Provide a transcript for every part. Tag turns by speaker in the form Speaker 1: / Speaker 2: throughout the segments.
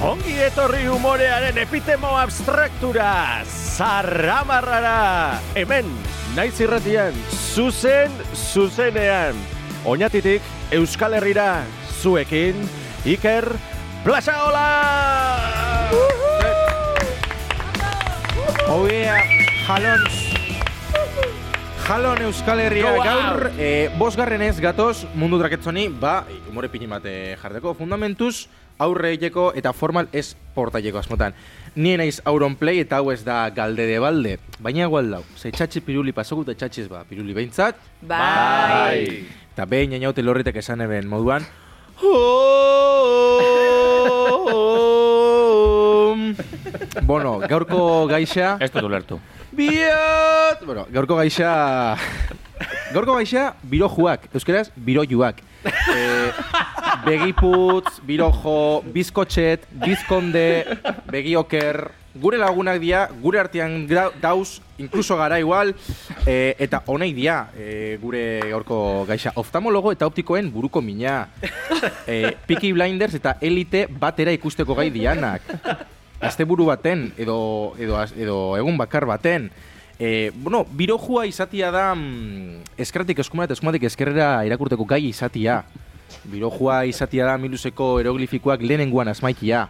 Speaker 1: Ongi etorri humorearen epitemo abstraktura, zarramarrara, hemen, naiz irratian, zuzen, zuzenean. Oñatitik, Euskal Herrira, zuekin, Iker, Plazaola!
Speaker 2: Oh yeah, jalon. Jalon Euskal Herria
Speaker 1: Go
Speaker 2: gaur,
Speaker 1: out!
Speaker 2: eh, bosgarren ez gatoz mundu draketzoni, ba, umore pini bat eh, jarteko, fundamentuz, aurre egiteko eta formal ez portaileko asmotan. Ni naiz auron play eta hau ez da galde de balde, baina igual dau, ze txatxi piruli pasogu eta txatxiz ba, piruli behintzat,
Speaker 3: Bai.
Speaker 2: eta behin inaute lorritek esan eben moduan, Uhuh. Bono, gaurko gaixa...
Speaker 4: Ez dut ulertu.
Speaker 2: Biot! Bueno, gaurko gaixa... Gaurko gaixa, birojuak. Euskeraz, birojuak. Eh, begiputz, birojo, bizkotxet, bizkonde, begioker... Gure lagunak dira, gure artean gra- dauz, inkluso gara igual, eh, eta honei dira eh, gure gaurko gaixa. Oftamologo eta optikoen buruko mina. Eh, Peaky Blinders eta Elite batera ikusteko gai dianak asteburu baten edo edo az- edo egun bakar baten E, bueno, birojua izatia da mm, eskerratik eskumara eta eskumatik eskerrera irakurteko gai izatia. Birojua izatia da miluzeko eroglifikoak lehenengoan asmaikia.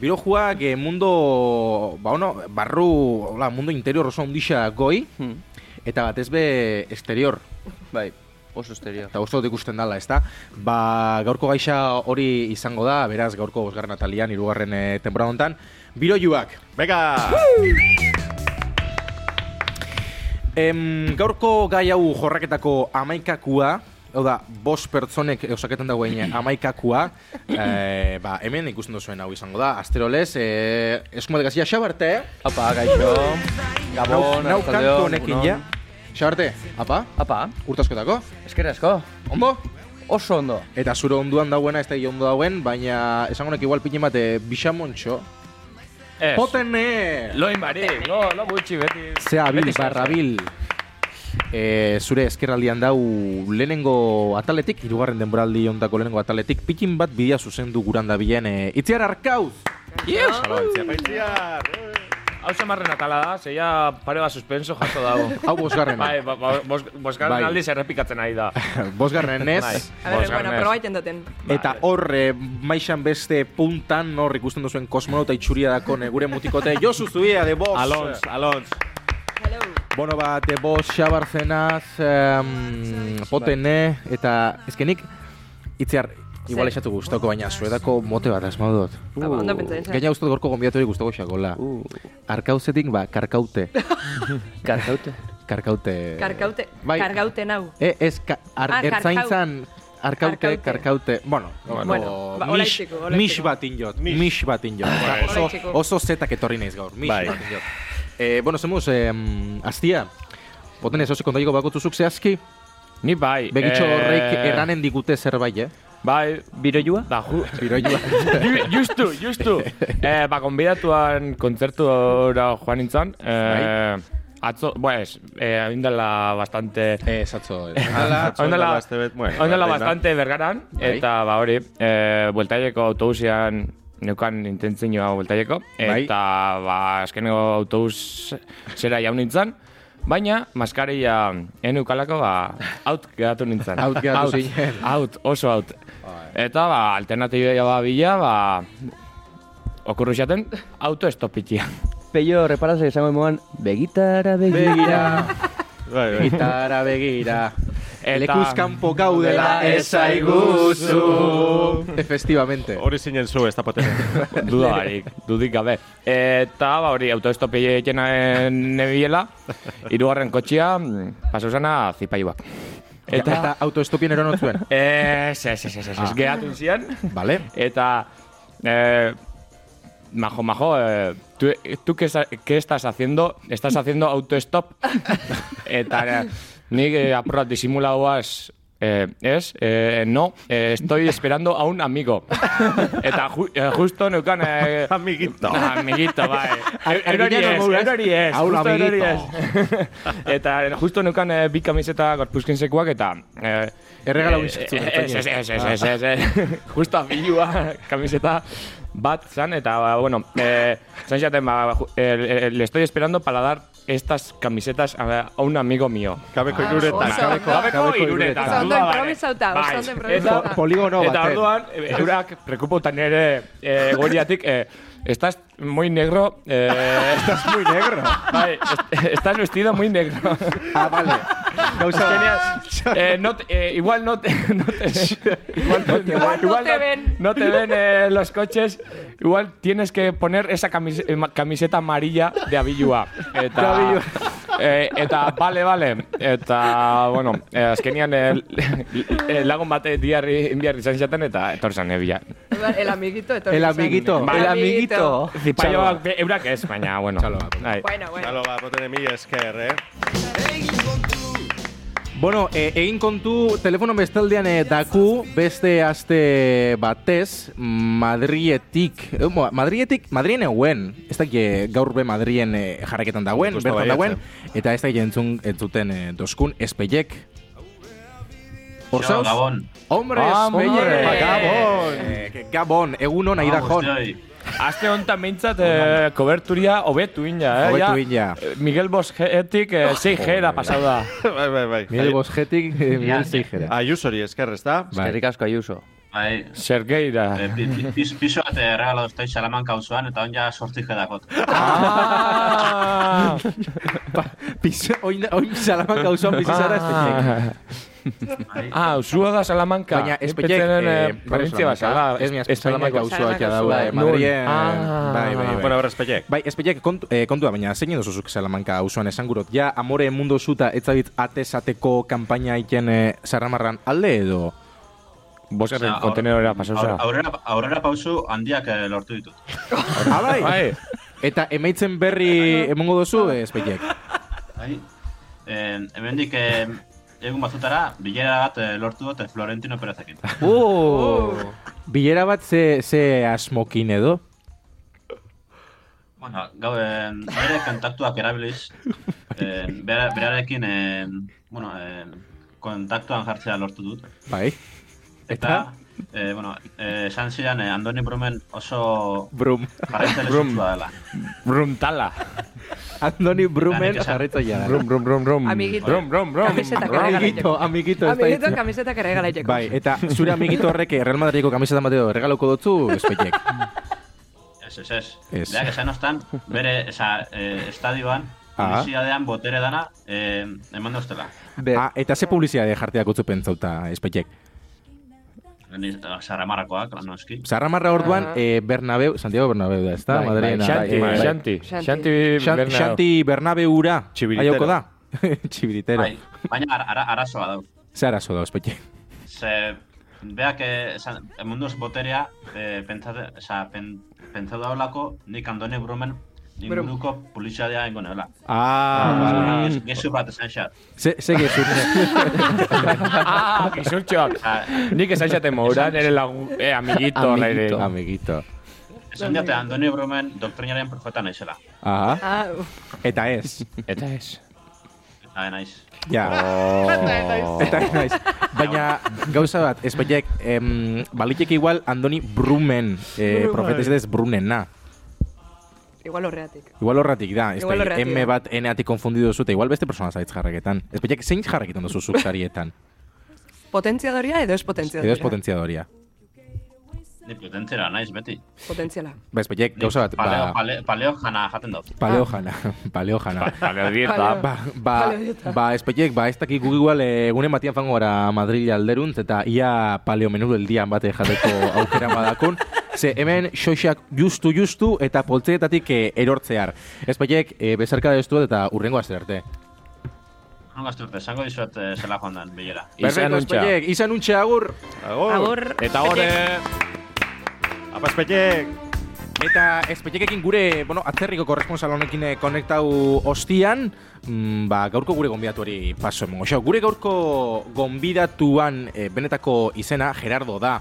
Speaker 2: Birojuak eh, mundo, ba, ono, barru, hola, mundo interior oso handixa goi, eta batez be exterior,
Speaker 4: Bai, oso exterior.
Speaker 2: eta oso dut ikusten dala, ezta? Ba, gaurko gaixa hori izango da, beraz, gaurko bosgarren atalian, irugarren eh, temporada honetan, birojuak.
Speaker 1: Beka!
Speaker 2: Em, gaurko gai hau jorraketako amaikakua, hau da, bost pertsonek osaketan dagoen amaikakua, eh, ba, hemen ikusten duzuen hau izango da, asterolez, eh, eskumatekazia xabarte,
Speaker 4: Apa, gaixo.
Speaker 2: nau,
Speaker 4: Gabon,
Speaker 2: nau kantu
Speaker 4: arratsaldeon,
Speaker 2: honekin
Speaker 4: egunon.
Speaker 2: ja. Xabarte, apa,
Speaker 4: Apa,
Speaker 2: urtaskotako,
Speaker 4: eskerrik asko.
Speaker 2: ondo?
Speaker 4: Oso ondo.
Speaker 2: Eta zure onduan dauena, ez da ondo dauen, baina esango nek igual pinen bate bixamontxo.
Speaker 4: Ez.
Speaker 2: Potene!
Speaker 4: Loin barik, no, no gutxi beti.
Speaker 2: Zea bil,
Speaker 4: Beti zer
Speaker 2: barra
Speaker 4: zen.
Speaker 2: bil. E, zure eskerraldian dau lehenengo ataletik, hirugarren denboraldi ontako lehenengo ataletik, pikin bat bidea zuzendu guran da bilen, e, itziar arkauz!
Speaker 4: Yes!
Speaker 1: Baitziar!
Speaker 4: Hau zamarren atala da, zeia pare bat suspenso jaso dago.
Speaker 2: Hau bosgarrena.
Speaker 4: Bai, ba- ba- bos- bosgarren
Speaker 2: Bai.
Speaker 4: aldiz errepikatzen ari da.
Speaker 2: Bosgarren
Speaker 4: Bai.
Speaker 2: ez,
Speaker 3: A ver,
Speaker 4: Bosgarren
Speaker 3: bueno,
Speaker 4: ez.
Speaker 3: proba intentaten.
Speaker 2: eta hor e, maixan beste puntan hor ikusten duzuen kosmonauta itxuria dakon e, gure mutikote Josu Zubia de Boss!
Speaker 4: Alons, alons.
Speaker 3: Hello.
Speaker 2: Bono bat, e, Boss, Xabarzenaz, em, Potene, eta ezkenik, itziar, igual
Speaker 3: Zer?
Speaker 2: esatu guztoko, baina zuedako mote bat asmau dut.
Speaker 3: Ah, ba, ondo pentsa, Uh. pentsa.
Speaker 2: Gaina uste dut gorko gonbidatu hori guztoko xakola. Arkauzetik, ba, karkaute.
Speaker 4: Karkaute.
Speaker 2: Karkaute.
Speaker 3: Karkaute,
Speaker 2: Bai.
Speaker 3: kargaute nau.
Speaker 2: E, ez, ka, ar,
Speaker 3: Ah, karkau-
Speaker 2: ertzaintzan, arkaute,
Speaker 3: Karkaute.
Speaker 2: karkaute. Bueno, bueno,
Speaker 3: Bueno, ba,
Speaker 2: mis,
Speaker 3: olaiteko, olaiteko.
Speaker 2: mis bat injot. Mis, bat injot. Oso,
Speaker 3: Olaiteko.
Speaker 2: oso zetak etorri naiz gaur. Mis
Speaker 1: Bai.
Speaker 2: bat injot. Eh, bueno, zemuz, eh, aztia. Boten ez, oso kontaiko bakotuzuk zehazki.
Speaker 4: Ni bai.
Speaker 2: Begitxo
Speaker 4: eh,
Speaker 2: horreik erranen digute zerbait, eh?
Speaker 4: Bai. Biroiua? Da, ju,
Speaker 2: Biroilua.
Speaker 4: Ju- justu, justu. eh, ba, konbidatuan kontzertura joan nintzen. Eh, atzo, bueno, es, eh, indela bastante...
Speaker 2: eh, zatzo.
Speaker 4: Hala,
Speaker 1: oindela aste bet- bueno,
Speaker 4: oindela
Speaker 1: bai,
Speaker 4: bastante bergaran,
Speaker 2: Bai.
Speaker 4: eta ba hori, e, bueltaieko autobusian neukan intentzioa bueltaieko,
Speaker 2: Bai.
Speaker 4: eta ba, azkeneko autobus zera jaun nintzen, baina maskaria eneukalako ba, out geratu nintzen.
Speaker 2: Out geratu
Speaker 4: Out,
Speaker 2: zinen.
Speaker 4: out, oso out. Eta ba, alternatiboa ba, bila, ba, okurru xaten, autoestopitia.
Speaker 5: Peio, reparazio izango emoan, begitara begira.
Speaker 2: Begira,
Speaker 1: Bai, bai.
Speaker 2: gitara begira.
Speaker 4: Eta-
Speaker 2: Lekuz kanpo gaudela esaiguzu. Efectivamente.
Speaker 1: Hori zinen zu, ez da potene.
Speaker 4: Duda barik, dudik gabe. Eta, ba, hori, autoestopi egiten nebiela, irugarren kotxia, mm, paso zana zipaiuak.
Speaker 2: Eta, eta autoestopien eron zuen.
Speaker 4: Ez, ez, ez, ez, ez, ez, gehatu zian.
Speaker 2: Vale.
Speaker 4: Eta, eh, majo, majo, eh, tú, tú qué, esa- qué estás haciendo? Estás haciendo autostop. Eta, eh, nik eh, apurrat disimulauaz eh, es, eh, no, eh, estoy esperando a un amigo. Eta ju, eh, justo neukan... Eh,
Speaker 6: Amiguito.
Speaker 4: Amiguito, bai.
Speaker 2: Ar-
Speaker 4: Erori
Speaker 2: argina
Speaker 4: ez,
Speaker 2: moduraz,
Speaker 4: erori ez.
Speaker 2: hau
Speaker 4: justo
Speaker 2: amiguito.
Speaker 4: erori ez. eta justo neukan eh, bi kamiseta gorpuzkinsekoak eta... Eh,
Speaker 2: Erregala
Speaker 4: eh,
Speaker 2: bizitzu,
Speaker 4: eh,
Speaker 2: ertzaina.
Speaker 4: Ez, ez, ez, ez, ez, ez. Justo afilua kamiseta bat zan, eta, ba, bueno, eh, zan jaten, ba, ju- eh, eh, le estoy esperando para dar estas camisetas a, a un amigo mío.
Speaker 6: Kabeko
Speaker 3: Ah,
Speaker 6: iruretan.
Speaker 3: oso.
Speaker 6: kabeko-
Speaker 4: Gabeko
Speaker 2: gabeko
Speaker 4: iruretan.
Speaker 3: Oso ondo
Speaker 4: Ba, bai.
Speaker 3: improvisauta, oso
Speaker 4: Bai.
Speaker 3: ondo improvisauta.
Speaker 2: Poligono
Speaker 4: Eta
Speaker 2: baten.
Speaker 4: orduan, e- eurak prekupotan ere eh, egoeriatik, eh, estás muy negro, eh, estás,
Speaker 2: Muy negro.
Speaker 4: bai, est- estás vestido muy negro.
Speaker 2: Ah, vale. Gauza
Speaker 4: Genial. Eh, no te- eh, igual no te, no te- igual,
Speaker 3: Igual no te ven.
Speaker 4: no te ven eh, los coches. Igual tienes que poner esa camis- eh, ma- camiseta amarilla de Abilua. Eta, eh, eta, vale, vale. Eta, bueno, eh, azkenian eh, eh, lagun bate diarri inbiarri izan zaten eta etorzan ebila.
Speaker 3: El amiguito. etorri
Speaker 2: El
Speaker 3: zen.
Speaker 2: amiguito.
Speaker 4: Bai.
Speaker 2: El amiguito.
Speaker 4: Zipaioak be- eurak ez, baina, bueno.
Speaker 2: Txaloak.
Speaker 4: Bai.
Speaker 3: Bueno, bueno.
Speaker 6: Halo, ba, botere mi esker, eh?
Speaker 2: Bueno, e, egin kontu telefono bestaldean e, daku beste aste batez Madrietik, eh, mo- Madrietik, Madrien eguen, ez dakit eh, gaur be Madrien e, jarraketan dagoen,
Speaker 6: Justo
Speaker 2: bertan
Speaker 6: baietz,
Speaker 2: dagoen,
Speaker 6: eh.
Speaker 2: eta ez dakit entzun, entzuten e, doskun espeiek. Hor
Speaker 7: Yo,
Speaker 2: zauz?
Speaker 7: Gabón.
Speaker 2: Hombre,
Speaker 4: Vamos,
Speaker 2: espeiek!
Speaker 4: Ah, hombre.
Speaker 2: Gabon! Eh, Gabon, egun hona
Speaker 7: Vamos,
Speaker 2: idajon.
Speaker 7: Joy.
Speaker 4: Aste honetan behintzat eh, koberturia hobetu ina, eh?
Speaker 2: Hobetu
Speaker 4: ja.
Speaker 2: egina.
Speaker 4: Eh, Miguel Boschetik eh, 6G-era pasau da.
Speaker 6: Bai, bai, bai.
Speaker 2: Miguel Bosgetik, eh, Miguel
Speaker 7: Ya.
Speaker 2: Zeijera.
Speaker 6: Aiusori esker, ez da?
Speaker 2: Bai.
Speaker 5: Eskerrik asko Ayuso.
Speaker 7: Bai,
Speaker 4: Sergeira.
Speaker 7: eh, pi- pi- pis- piso bat eh, regalado estoy Salamanca osoan, eta on ja sortzi jedakot.
Speaker 4: Ah!
Speaker 2: Pisa, oin, oin salaman gauzan bizizara espeiek.
Speaker 4: ah, usua da Salamanca.
Speaker 2: Bai. Baina
Speaker 4: Ni
Speaker 2: espeiek,
Speaker 4: pentsen, eh,
Speaker 2: eh,
Speaker 4: provintzia bat, ala,
Speaker 2: Ez mi espeiek
Speaker 4: Espainiako-
Speaker 2: gauzuak ja daula,
Speaker 3: Bai,
Speaker 2: Madrien.
Speaker 4: eh, Ah.
Speaker 2: Bai, bai, bai.
Speaker 6: Bueno, berrez pellek.
Speaker 2: Bai, espeiek kontu, eh, kontua, baina zein edo zuzuk Salamanca auzoan esan gurot. Ja, amore mundu zuta etzabit atesateko kampaina iken eh, zarramarran alde edo? Ah,
Speaker 4: Bosgarren
Speaker 7: Osea,
Speaker 4: kontenerora pasau
Speaker 7: Aur-
Speaker 4: zara.
Speaker 7: Aurrera, aurrera pausu handiak eh, lortu ditut.
Speaker 2: Abai!
Speaker 4: Bai.
Speaker 2: Eta emaitzen berri emongo duzu eh, espeiek.
Speaker 7: Bai. Eh, hemendik eh, egun batzutara, bilera bat eh, lortu dut eh, Florentino Perezekin.
Speaker 2: Oh! Bilera bat ze, ze asmokin edo?
Speaker 7: Bueno, gau, eh, bere kontaktuak erabiliz, eh, bera- berarekin, eh, bueno, eh, kontaktuan jartzea lortu dut.
Speaker 2: Bai.
Speaker 7: Eta, eh, bueno, eh, esan zidan eh, Andoni Brumen oso
Speaker 2: Brum.
Speaker 7: jarraitza lezutsua dela.
Speaker 4: Brumtala.
Speaker 2: Andoni
Speaker 7: Lanik
Speaker 2: Brumen
Speaker 7: esan.
Speaker 2: jarraitzaia.
Speaker 4: Brum, brum, brum, brum.
Speaker 3: Amiguito.
Speaker 4: Brum, brum, brum.
Speaker 3: Kamiseta
Speaker 4: Brum.
Speaker 3: kargala.
Speaker 2: Amiguito, amiguito. ez da
Speaker 3: Amiguito
Speaker 2: hitz-
Speaker 3: kamisetak ere galaiteko.
Speaker 2: Bai, eta zure amiguito horrek eh, Real Madrideko kamisetan bat edo regaloko dotzu, espeiek.
Speaker 7: Ez, ez, ez.
Speaker 2: Ez.
Speaker 7: Berak esan ostan, bere, esa, eh, estadioan,
Speaker 2: Ah.
Speaker 7: Publizidadean botere dana, eh, eman dauztela.
Speaker 5: Be,
Speaker 2: Ah, eta ze publizidade jarteak utzu pentsauta, espeiek.
Speaker 7: Sarra eh, marrakoak, lan noski.
Speaker 2: Zarramarra orduan,
Speaker 3: Ah.
Speaker 2: eh, Bernabeu, Santiago Bernabeu da, ezta?
Speaker 5: Bai, bai,
Speaker 2: Madriena.
Speaker 4: Xanti,
Speaker 2: Bai, bai.
Speaker 4: Xanti.
Speaker 3: Xanti.
Speaker 4: Xanti
Speaker 2: Xan-
Speaker 4: Bernabeu.
Speaker 2: Xanti Bernabeura.
Speaker 6: Txibiritero.
Speaker 2: Aioko da. Txibiritero.
Speaker 7: Bai, baina ara, ara, arazoa dau.
Speaker 2: Zarazo da, espeiek.
Speaker 7: Ze, beak, eh, esan, munduz boterea, eh, pentsate, esa, pen, pentsatu daulako, nik Andoni Brumen inguruko publizidadea ingo neola.
Speaker 2: Ah,
Speaker 7: Ah. Gezu bat esan xat.
Speaker 2: Ze, ze gezur.
Speaker 4: Ah, gizurtxoak.
Speaker 7: Osa,
Speaker 4: Nik esan jaten mouran, ere lagun, eh, amiguito.
Speaker 5: Amiguito.
Speaker 4: horre.
Speaker 2: Amiguito.
Speaker 7: esan diate Andoni Brumen doktrinaren profeta naizela.
Speaker 2: Aha.
Speaker 3: Ah, uf.
Speaker 2: Eta ez.
Speaker 4: Eta ez.
Speaker 7: Eta naiz.
Speaker 2: Ja. Eta ez naiz. Baina gauza bat, espeiek, em, baliteke igual Andoni Brumen, eh,
Speaker 6: Brumen.
Speaker 2: profetez Brunena.
Speaker 3: Igual horreatik.
Speaker 2: Igual horratik da, ez
Speaker 3: Igual
Speaker 2: da,
Speaker 3: horratik
Speaker 2: M
Speaker 3: da.
Speaker 2: bat N-atik konfundido zute, igual beste persona zaitz jarraketan. Ez peiak, zein jarraketan duzu zuk sarietan?
Speaker 3: Potentziadoria edo ez potentziadoria?
Speaker 2: Edo ez potentziadoria.
Speaker 7: Ni potentzera naiz, beti.
Speaker 3: Potentziala.
Speaker 2: Ba, ez peiak, gauza bat,
Speaker 7: Paleo,
Speaker 2: ba,
Speaker 7: pale, paleo jana jaten dut.
Speaker 2: paleo jana, paleo jana.
Speaker 4: Vale,
Speaker 3: Vale.
Speaker 4: dieta.
Speaker 2: Ba, ba,
Speaker 3: Paleo dieta.
Speaker 2: ba, ez peiak, ba, ez dakik guk igual eh, egunen batian fango gara Madrid alderuntz, eta ia paleo menu del dian bate jateko aukera badakun. Ze hemen xoxak justu justu eta poltzeetatik eh, erortzear. Ez peiak, eh, bezarka destu eta urrengo aste arte.
Speaker 7: Non gazturte, esango dizuet eh, zela joan dan, bilera.
Speaker 4: Izan
Speaker 2: Perfecto, ez
Speaker 4: untxa.
Speaker 2: peiak, izan untxe agur!
Speaker 6: Agur.
Speaker 3: Agur.
Speaker 4: Eta hor, eh,
Speaker 6: Apas pellek.
Speaker 2: Eta espeitekekin gure, bueno, atzerriko korresponsal honekin eh, konektau ostian, mm, ba, gaurko gure gonbidatuari paso emango. Xo, gure gaurko gonbidatuan eh, benetako izena Gerardo da.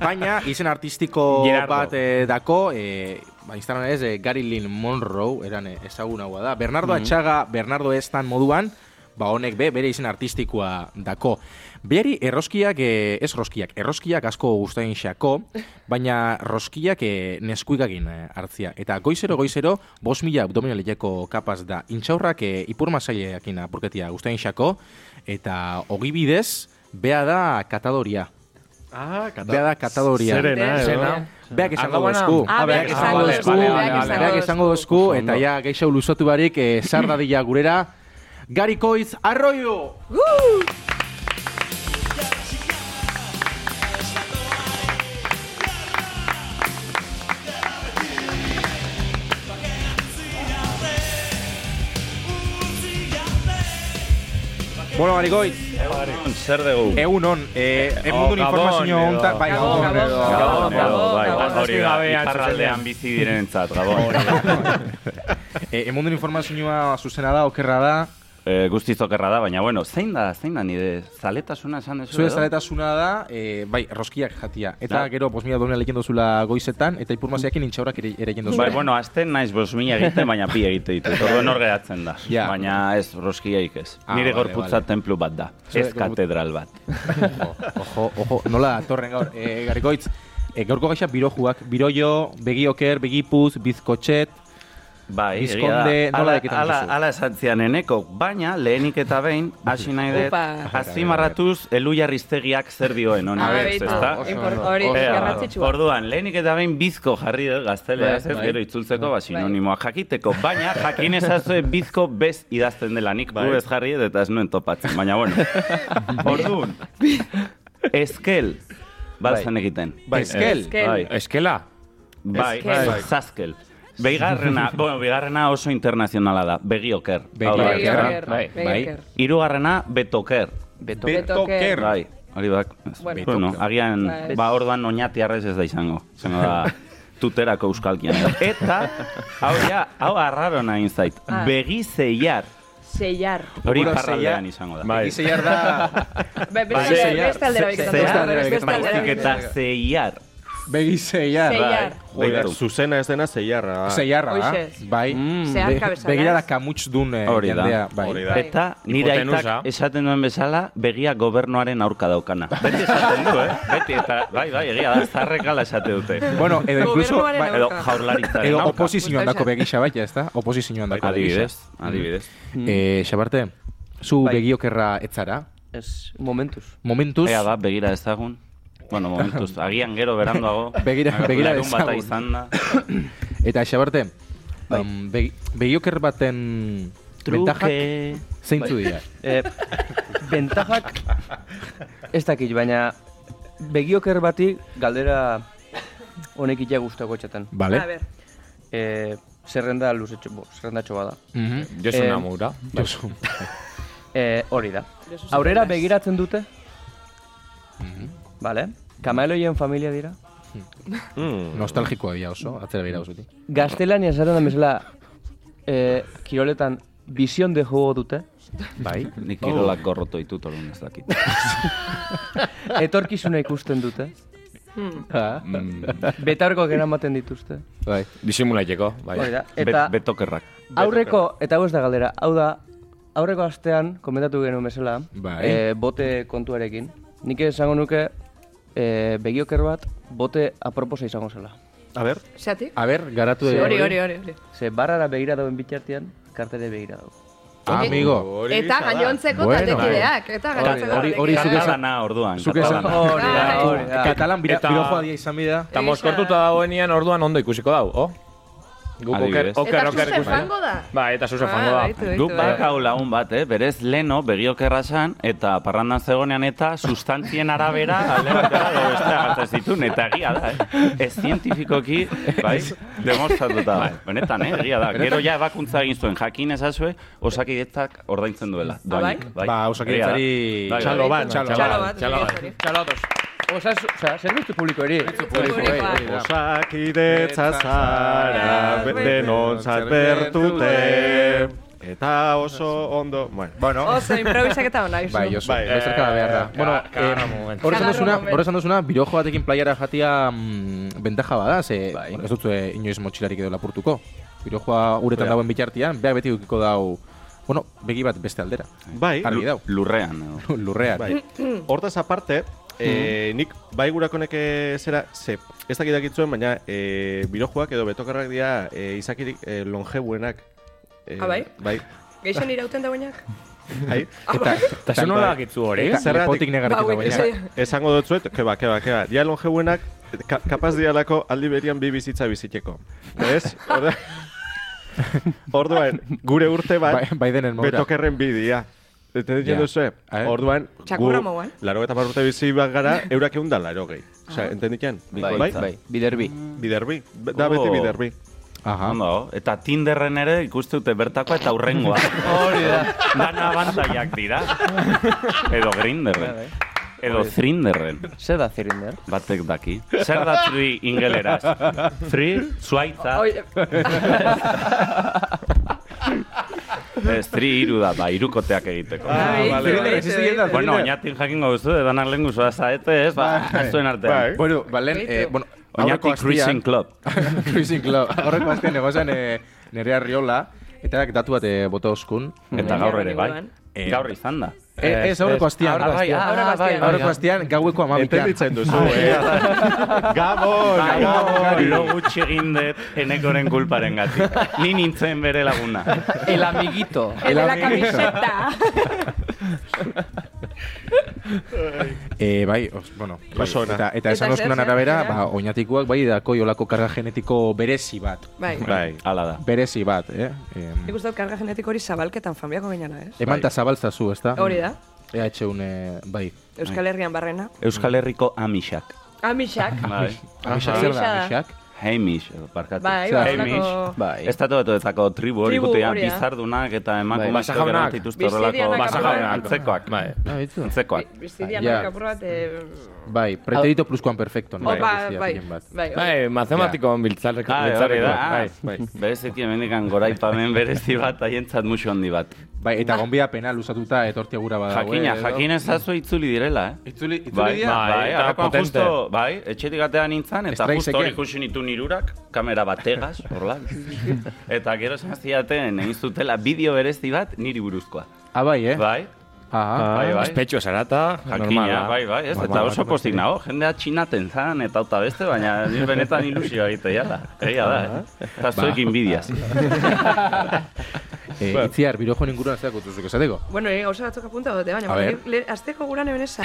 Speaker 2: Baina izen artistiko
Speaker 4: Gerardo.
Speaker 2: bat eh, dako, eh, ba, instalan ez, eh, Gary Lynn Monroe, eran eh, ezagun haua da. Bernardo Atxaga, Bernardo Estan moduan, ba honek be, bere izen artistikoa dako. Berari erroskiak, eh, ez roskiak, erroskiak asko gustatzen xako, baina roskiak eh, neskuikakin eh, hartzia. Eta goizero, goizero, bos mila abdominaleko kapaz da. Intxaurrak eh, ipur masaileakin apurketia gustatzen xako, eta ogibidez, bea da katadoria.
Speaker 1: Ah, kata...
Speaker 2: Bea da katadoria.
Speaker 1: Zerena, edo?
Speaker 4: Zena.
Speaker 2: Beak esango
Speaker 4: Argauana.
Speaker 2: dozku.
Speaker 4: Ah,
Speaker 3: beak esango
Speaker 2: Beak
Speaker 3: dozku,
Speaker 2: esango
Speaker 4: beak
Speaker 2: dozku.
Speaker 4: esango
Speaker 2: Beak esango dozku,
Speaker 4: dozku.
Speaker 2: eta ja geixau luzatu barik, eh, sar dadila gurera. Garikoiz, arroio!
Speaker 3: Uh.
Speaker 2: Bueno, Garikoiz,
Speaker 1: Zer dugu?
Speaker 2: egun hon, eh, emundun
Speaker 7: Gabon,
Speaker 2: informazio
Speaker 7: edo.
Speaker 2: hontan, bai, gabon,
Speaker 3: Gabon, gabon,
Speaker 2: edo.
Speaker 3: gabon.
Speaker 7: bai,
Speaker 4: gabon.
Speaker 7: hori da,
Speaker 4: Gabe
Speaker 7: iparraldean
Speaker 4: atzealdean.
Speaker 7: bizi direnentzat, gabon.
Speaker 2: Eh, emundun informazioa zuzena da, okerra da,
Speaker 7: Eh, Guztiz okerra da, baina bueno, zein da, zein da nire zaletasuna esan dezu
Speaker 2: Zure zaletasuna da, e, bai, roskiak jatia. Eta
Speaker 7: Da.
Speaker 2: gero, bos mila donen lehiken dozula goizetan, eta ipurmaziakin intxaurak ere, ere egin dozula.
Speaker 7: Bai, bueno, azten naiz bos mila egiten, baina pi egite ditut. Orduan hor geratzen da.
Speaker 2: Ja.
Speaker 7: Baina ez, roskiaik ez.
Speaker 2: Ah,
Speaker 7: Nire
Speaker 2: vale,
Speaker 7: gorputza
Speaker 2: vale.
Speaker 7: templu bat da.
Speaker 2: Zure
Speaker 7: Ez
Speaker 2: gorput-
Speaker 7: katedral bat.
Speaker 2: Ojo, ojo, nola torren gaur. E, garikoitz, e, gaurko gaixa birojuak. Biroio, begioker, begipuz, bizkotxet.
Speaker 7: Bai,
Speaker 2: Bizkonde,
Speaker 7: egia da.
Speaker 2: nola
Speaker 7: Ala-
Speaker 2: deketan
Speaker 7: ala-
Speaker 2: duzu?
Speaker 7: Ala esan zian eneko, baina lehenik eta behin, hasi nahi dut,
Speaker 3: Upa.
Speaker 7: azpimarratuz, elu jarriztegiak zer dioen, hona
Speaker 3: Ah,
Speaker 7: ez,
Speaker 3: beitu.
Speaker 7: ezta?
Speaker 3: Impor- Hori,
Speaker 7: Ea,
Speaker 3: garrantzitsua.
Speaker 7: Orduan, lehenik eta behin bizko jarri dut gazteleraz,
Speaker 5: Bai,
Speaker 7: ez
Speaker 5: bai.
Speaker 7: gero itzultzeko ba sinonimoa jakiteko, baina jakin ezazue bizko bez idazten dela nik
Speaker 2: Bai.
Speaker 7: gu ez jarri dut eta ez nuen topatzen, baina bueno. Orduan, eskel,
Speaker 2: Bai.
Speaker 7: balzan egiten.
Speaker 2: Ezkel.
Speaker 3: Ezkel.
Speaker 7: Bai.
Speaker 4: Eskela.
Speaker 7: Bai,
Speaker 3: Ezkel.
Speaker 7: bai. zazkel. Beigarrena, bueno, beigarrena oso internazionala da, begioker.
Speaker 2: Begioker.
Speaker 7: Hau da,
Speaker 3: Begioker,
Speaker 4: Bai,
Speaker 3: begioker.
Speaker 7: Hirugarrena betoker.
Speaker 3: Betoker.
Speaker 7: Bai, hori bak.
Speaker 3: Bueno.
Speaker 7: Bueno, agian,
Speaker 3: Bai.
Speaker 7: ba, orduan oñati arrez ez da izango. Zango da, tuterako euskalkian. Eta, hau ja, hau arraro nahi zait.
Speaker 3: Ah.
Speaker 7: Begi zeiar.
Speaker 3: Seiar.
Speaker 7: Hori
Speaker 2: Bueno,
Speaker 7: parraldean izango da.
Speaker 4: Bai.
Speaker 2: Egizeiar da...
Speaker 3: Be- Beste
Speaker 7: Bai.
Speaker 3: aldera- beste aldera
Speaker 2: Se- se-
Speaker 3: begiratu.
Speaker 7: beste aldera
Speaker 3: Beste
Speaker 2: begiratu.
Speaker 3: aldera
Speaker 7: Baizik eta Bai,
Speaker 3: begiratu.
Speaker 7: zeiar.
Speaker 2: Begizeiar.
Speaker 3: Bai. Seiar.
Speaker 1: Joder,
Speaker 7: Beitu.
Speaker 1: zuzena ez dena zeiarra.
Speaker 2: Seiarra, da.
Speaker 3: Hoxe.
Speaker 2: Bai.
Speaker 3: Zehar
Speaker 2: Be-
Speaker 3: kabezalaz.
Speaker 2: Begirada kamutz dun eh,
Speaker 7: Hori da.
Speaker 2: jendea. Bai.
Speaker 1: Hori da.
Speaker 7: Eta nire
Speaker 4: Hipotenusa.
Speaker 7: aitak esaten duen bezala begia gobernuaren aurka daukana. Beti esaten du, eh? Beti, eta bai, bai, egia da, zarrek ala esate dute.
Speaker 2: Bueno, edo incluso...
Speaker 3: Gobernuaren
Speaker 2: Bai,
Speaker 7: Edo jaurlaritzaren
Speaker 2: edo
Speaker 7: aurka.
Speaker 2: oposizioan dako begisa bai, ez da? Oposizioan dako
Speaker 7: Adibidez, adibidez.
Speaker 2: Mm. Eh, Xabarte, zu
Speaker 5: Bai.
Speaker 2: begiokerra etzara.
Speaker 5: Ez, momentuz.
Speaker 2: Momentuz...
Speaker 7: Ea ba, begira ezagun. Bueno, momentuz, agian gero beranduago.
Speaker 2: Begira- begira
Speaker 7: Larun bata
Speaker 2: ezagun.
Speaker 7: izan da.
Speaker 2: Eta Xabarte,
Speaker 7: Bai.
Speaker 2: um, begi- begioker baten
Speaker 5: Bai.
Speaker 2: bentajak
Speaker 7: Truke.
Speaker 2: zeintzu dira?
Speaker 5: Eh, bentajak, ez dakit, baina begioker bati galdera honek itea gustako txatan.
Speaker 3: A
Speaker 2: Vale?
Speaker 3: ber,
Speaker 5: Eh, zerrenda luzetxo, bo, zerrendatxo bada.
Speaker 2: Mhm.
Speaker 4: Josu
Speaker 5: Eh,
Speaker 4: Namura.
Speaker 2: Josu.
Speaker 5: Eh, hori da.
Speaker 3: Jesus
Speaker 5: Aurrera
Speaker 3: Christ.
Speaker 5: begiratzen dute, vale? Kamaeloien familia dira.
Speaker 7: Mm.
Speaker 2: Nostalgikoa dira oso, atzera behira osotik.
Speaker 5: Gaztelania esaten da bezala, eh, kiroletan bizion de juego dute.
Speaker 2: Bai.
Speaker 7: Nik kirolak gorroto ditut, orduan ez dakit.
Speaker 5: Etorkizuna ikusten dute. Betarko eramaten dituzte.
Speaker 2: Bai.
Speaker 4: Disimulaiteko. Bai.
Speaker 5: Hori da.
Speaker 7: Bet-
Speaker 5: Eta
Speaker 7: betokerrak.
Speaker 5: aurreko, eta hau ez da galdera, hau da, aurreko astean, komentatu genuen bezala,
Speaker 2: Bai.
Speaker 5: eh, bote kontuarekin. Nik esango nuke, eh, begioker bat, bote aproposa izango zela.
Speaker 1: A ber,
Speaker 3: Xatik?
Speaker 2: A ber, garatu de...
Speaker 3: Hori, hori, hori. hori.
Speaker 5: Ze barrara begira dauen bitartean, kartere begira dago.
Speaker 2: Ah, Amigo.
Speaker 3: Eta gainontzeko
Speaker 2: Bueno.
Speaker 3: taldekideak. Eta
Speaker 7: bai.
Speaker 3: gainontzeko
Speaker 2: hori- hori
Speaker 3: taldekideak.
Speaker 2: zuk esan-
Speaker 7: Katalana, orduan.
Speaker 2: Zuk esan-
Speaker 7: katalana.
Speaker 5: Hori
Speaker 3: Bai.
Speaker 5: da, hori da.
Speaker 2: Katalan bira,
Speaker 4: Eta-
Speaker 2: birojoa dia izan bida.
Speaker 4: Eta moskortuta dagoenian orduan ondo ikusiko dau, oh? Guk oker,
Speaker 7: Adibidez.
Speaker 4: oker,
Speaker 3: Eta
Speaker 4: oker
Speaker 3: zuzen
Speaker 4: ikusi.
Speaker 3: fango da.
Speaker 4: Ba, eta zuzen
Speaker 3: Ah,
Speaker 4: fango da.
Speaker 3: baitu, baitu,
Speaker 7: Guk
Speaker 3: baitu.
Speaker 7: badakau lagun bat, eh? Berez, leno, begiokerra zan, eta parrandan zegonean eta sustantzien arabera alde batera edo bestera gatzaz ditun, eta egia da, eh? Ez zientifikoki, bai, demostratuta
Speaker 2: Bai.
Speaker 7: da. Benetan, eh? Egia da. Gero ja ebakuntza egin zuen, jakin ezazue, osakidetzak ordaintzen duela.
Speaker 3: Ah, bai?
Speaker 7: doainik,
Speaker 2: Ba,
Speaker 7: Egia da.
Speaker 2: osakidetzari...
Speaker 7: Bai, bai.
Speaker 2: Txalo bat,
Speaker 4: Txalo
Speaker 3: Txalo
Speaker 4: bat,
Speaker 3: bat,
Speaker 4: txalo bat.
Speaker 3: hori.
Speaker 4: Txalo ados.
Speaker 5: Osasu, oza, zerbitzu publikoari.
Speaker 6: Osakidetza zara, denon bertute, eta oso ondo... Bueno,
Speaker 2: Bueno.
Speaker 3: Oso, improvisaketa ona, izu.
Speaker 2: Bai, oso,
Speaker 6: Bai,
Speaker 2: bai, bezarka da behar da.
Speaker 4: eh,
Speaker 3: Ah,
Speaker 2: Bueno,
Speaker 4: ka- kagarra
Speaker 2: eh,
Speaker 4: moment.
Speaker 2: hor esan
Speaker 3: Kagarra
Speaker 2: duzuna,
Speaker 3: moment.
Speaker 2: hor esan duzuna, birojo batekin playara jatia mm, bentaja bada, ze ez dut inoiz motxilarik edo lapurtuko. Birojoa uretan dauen bitartian, beak beti dukiko dau, bueno, begi bat beste aldera.
Speaker 6: bai,
Speaker 2: Argi dau.
Speaker 7: Lurrean. edo.
Speaker 2: Lurrean.
Speaker 6: Bai. Hortaz aparte, eh, nik bai gurakonek eh, zera, ze, ez dakit dakitzuen, baina eh, birojuak edo betokarrak dira eh, izakirik eh, longebuenak. Eh,
Speaker 3: Ah, bai?
Speaker 6: Bai,
Speaker 3: Geixen irauten dauenak?
Speaker 6: bai.
Speaker 2: Eta,
Speaker 4: Eta zuen nola dakitzu hori?
Speaker 2: eta
Speaker 6: Zergatik.
Speaker 2: lepotik negarrik
Speaker 3: Ba,
Speaker 2: eta
Speaker 3: ui,
Speaker 2: baina.
Speaker 3: ez-
Speaker 6: Esango dut zuet, keba, keba, keba. Dia longebuenak, ka, kapaz dialako aldi berian bi bizitza biziteko. Ez? Orda- Orduan, gure urte bat,
Speaker 2: Bai- bai denen modura.
Speaker 6: betokerren bidia. Eten
Speaker 2: Ja.
Speaker 6: duzue?
Speaker 2: A ver.
Speaker 6: Orduan,
Speaker 3: Txakurra moan.
Speaker 6: laro eta urte bizi bat gara, eurak egun da laro gehi. Osa, enten dikian?
Speaker 5: Bai, bai, biderbi.
Speaker 6: Biderbi. Be- Da beti
Speaker 7: Oh.
Speaker 6: biderbi.
Speaker 2: Aha.
Speaker 7: Ondo, eta Tinderren ere ikuste dute bertakoa eta urrengoa. Hori da. Dana abantailak dira. Edo
Speaker 3: Bai,
Speaker 7: Grinderren. Edo Thrinderren.
Speaker 5: Zer da zirinder?
Speaker 7: Batek daki. Zer da tri ingeleraz? Tri, zuaitza.
Speaker 3: Oi,
Speaker 7: Ez, tri iru da, ba, irukoteak egiteko.
Speaker 3: Ah, vale,
Speaker 2: Zerrenda,
Speaker 3: vale.
Speaker 2: existi dira,
Speaker 7: Bueno,
Speaker 2: zerrenda.
Speaker 7: oinatik jakingo duzu, edanak lehen guzua zaete, ez, ba, azuen artean.
Speaker 2: Bueno, balen, eh, bueno, aurreko
Speaker 7: Oinatik
Speaker 2: astian,
Speaker 7: Cruising Club.
Speaker 2: Cruising Club. Horreko azten egozan eh, nerea riola, eta berak datu bat eh, bota oskun.
Speaker 7: Eta gaur ere, bai.
Speaker 3: Inguruan.
Speaker 7: Gaur izan da.
Speaker 2: Eh, Ez, aurreko astian.
Speaker 5: Ah, bai, ah,
Speaker 3: Aurreko
Speaker 5: bai,
Speaker 3: astean.
Speaker 5: bai.
Speaker 2: Aurreko astean gaueko
Speaker 6: Enten
Speaker 2: amabitean.
Speaker 6: ditzen duzu, eh? Gabon, gabon.
Speaker 7: Bai. Lo gutxi egin dut enekoren kulparen gati. Ni nintzen bere laguna.
Speaker 5: El amiguito.
Speaker 3: el de la camiseta.
Speaker 2: Eh, bai, os, bueno, bai,
Speaker 6: Oso ona.
Speaker 2: eta, eta esan
Speaker 3: Eta
Speaker 2: oskunan
Speaker 3: zer, zer,
Speaker 2: arabera,
Speaker 3: zer?
Speaker 2: ba, oinatikuak bai dako jolako karga genetiko berezi bat.
Speaker 3: Bai.
Speaker 6: Bai.
Speaker 7: Hala da.
Speaker 2: Berezi bat, eh? Em,
Speaker 3: Nik uste dut karga genetiko hori zabalketan familiako gainana, ez?
Speaker 2: eman eta zabaltza zu, ez da?
Speaker 3: Hori da.
Speaker 2: EHUn, eh, bai.
Speaker 3: Euskal Herrian barrena.
Speaker 7: Euskal Herriko amixak.
Speaker 3: Amixak.
Speaker 7: Bai.
Speaker 2: Amixak zer da,
Speaker 3: Amixada.
Speaker 2: amixak?
Speaker 7: Heimish, edo parkatu.
Speaker 3: Bai,
Speaker 2: Zer?
Speaker 3: ba,
Speaker 7: Heimish.
Speaker 3: holako-
Speaker 5: Bai.
Speaker 7: Estatu batuetako tribu hori
Speaker 3: Tribu,
Speaker 7: gutean,
Speaker 3: hori da.
Speaker 7: bizardunak eta emakumezko
Speaker 4: Basajaunak.
Speaker 7: eran dituzte horrelako
Speaker 3: Bizirianak
Speaker 7: basajaunak,
Speaker 3: aparte.
Speaker 7: antzekoak.
Speaker 4: Bai.
Speaker 2: Ah, bitzu.
Speaker 7: Antzekoak.
Speaker 3: Bi- Bizidian
Speaker 2: Ja.
Speaker 3: marka apur bat, eh,
Speaker 2: Bai, preterito pluskuan perfecto.
Speaker 3: oh, ba,
Speaker 2: Guztia,
Speaker 3: bai,
Speaker 2: pillin bat.
Speaker 3: bai, hori.
Speaker 4: Bai, matematikoan biltzarreko.
Speaker 7: Ah, hori da. Ah,
Speaker 4: Bai.
Speaker 7: bai. Bereziki hemendikan goraipamen berezi bat haientzat musu handi bat.
Speaker 2: Bai, eta gonbia pena luzatuta etortia gura badago. eh,
Speaker 7: Jakina, jakin ezazu itzuli direla, eh?
Speaker 2: Itzuli,
Speaker 7: Bai,
Speaker 2: dira?
Speaker 4: Bai,
Speaker 7: bai,
Speaker 4: eta
Speaker 7: harrakoan
Speaker 4: potente.
Speaker 7: justo, bai, etxetik atea nintzen, eta
Speaker 2: Strike
Speaker 7: justo
Speaker 2: zeken.
Speaker 7: hori ikusi nitu nirurak, kamera bategaz, horla. eta gero esan zidaten, egin zutela bideo berezi bat niri buruzkoa.
Speaker 2: Ah, bai, eh?
Speaker 7: Bai,
Speaker 2: Aha.
Speaker 7: bai, bai.
Speaker 4: Espetxo zarata, normala.
Speaker 7: Jakina, bai, bai, ez,
Speaker 2: Normal da,
Speaker 7: eta oso postik nago, jendea txinaten zan, eta auta beste, baina ni benetan ilusioa egitea da. Egia da, eh? Eta zuekin bidiaz.
Speaker 2: Eh, itziar, birojoen inguruan zeak utuzuk esateko.
Speaker 3: Bueno, eh, oso batzuk apunta dute, baina
Speaker 2: A
Speaker 3: bueno,
Speaker 2: ber.
Speaker 3: le, azteko guran eben esa.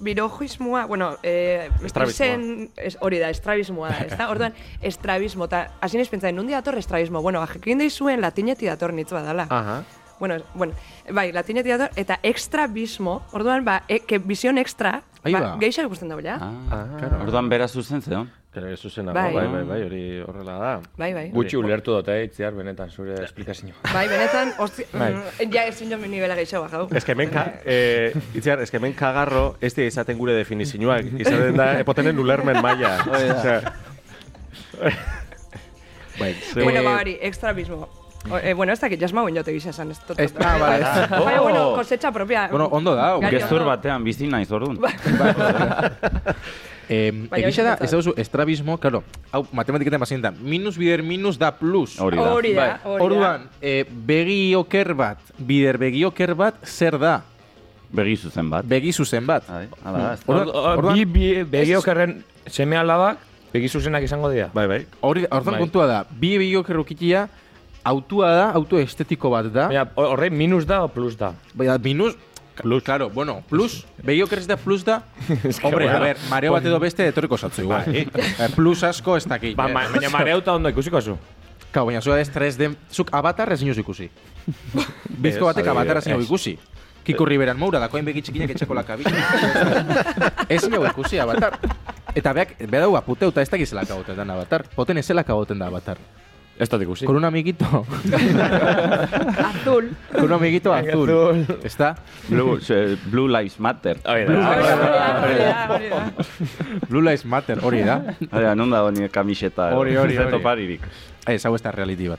Speaker 3: Birojoismoa, bueno, eh,
Speaker 6: Estrabismoa.
Speaker 3: izen- es, hori da, estrabismoa da, ezta? Orduan, estrabismo, eta hasi naiz pentsatzen, nundi dator estrabismo? Bueno, jakin daizuen latineti dator nitz badala.
Speaker 6: Aha.
Speaker 3: Bueno, bueno, bai, latineti dator, eta extrabismo, orduan, ba, e, que visión extra,
Speaker 2: Ahí
Speaker 3: ba,
Speaker 2: va.
Speaker 3: geisha ikusten da, ja?
Speaker 7: Ah, Orduan bera zuzen zeon.
Speaker 6: Gero zuzena,
Speaker 3: Bai.
Speaker 6: bai, bai, bai, bai, hori horrela da.
Speaker 3: Bai, bai.
Speaker 4: Gutxi ulertu dut, eh, itziar, benetan zure esplikazio.
Speaker 3: Bai, benetan, hosti, mm, ja ezin jo nivela gehiago bajau.
Speaker 6: Ez que hemen, ka, eh, itziar, ez que hemen kagarro ez dira izaten gure definizioak. Izaten da, epotenen ulermen maila. Osea,
Speaker 2: Bai,
Speaker 3: Bueno, ba, hori, extrabismo. O, eh, bueno, ez dakit, jasma guen jote gisa esan. Ez dut-
Speaker 2: Ez- ah, vale. Oh.
Speaker 3: Baina, bueno, cosecha propia.
Speaker 2: Bueno, ondo da, hau.
Speaker 3: Gai
Speaker 7: Gezur
Speaker 3: ondo.
Speaker 7: batean bizi naiz orduan.
Speaker 2: Em,
Speaker 3: Baina
Speaker 2: Egia da,
Speaker 3: hori
Speaker 2: ez dauzu estrabismo, claro, hau matematiketan bazien da, minus bider minus da plus.
Speaker 7: Hori da.
Speaker 3: Hori da,
Speaker 2: Bai.
Speaker 3: hori da.
Speaker 2: Orduan, eh, begi oker bat, bider begi oker bat, zer da?
Speaker 7: Begi zuzen bat.
Speaker 2: Begi zuzen bat.
Speaker 7: Bai, hala da. ez da.
Speaker 2: Orduan- orduan-
Speaker 4: Bi, bi, begiokerren seme alabak, begi zuzenak izango dira.
Speaker 6: bai, bai.
Speaker 2: Hori, orduan
Speaker 4: Bai.
Speaker 2: kontua da, bi begi oker ukitia, autua da, auto estetiko bat da.
Speaker 4: Baina, hor- horre minus da o plus da?
Speaker 2: Baina, minus... Plus. Claro, bueno, plus, begi oker ez da plus da, hombre, a ver, mareo bat edo beste etorriko satzu igual. Eh, plus asko ez dakit.
Speaker 4: Pues Ba,
Speaker 2: eh.
Speaker 4: ma, baina mareuta ondo ikusiko zu.
Speaker 2: Kau, baina zua ez 3D... Zuk avatar ez inoz ikusi. Bizko batek avatar ez inoz ikusi. Kiko Riberan Moura, dakoen begi txikinak etxeko lakabila. ez inoz ikusi avatar. Eta beak, beha dau aputeuta ez dakiz zelaka goten den avatar. Poten ez zelaka goten da avatar.
Speaker 4: Ez dut ikusi.
Speaker 2: Con un amiguito.
Speaker 3: Azul.
Speaker 2: Con un amiguito azul. ¿Está?
Speaker 7: Blue, eh, Blue Lives Matter.
Speaker 4: Hori
Speaker 2: Ah,
Speaker 4: da.
Speaker 3: Hori da, hori da, hori da.
Speaker 2: Blue Lives Matter, hori da.
Speaker 7: Hori, non dago nire kamiseta.
Speaker 2: Hori, hori,
Speaker 7: Ez dut
Speaker 2: hori.
Speaker 7: oparirik.
Speaker 2: Ez, hau ez da realiti bat.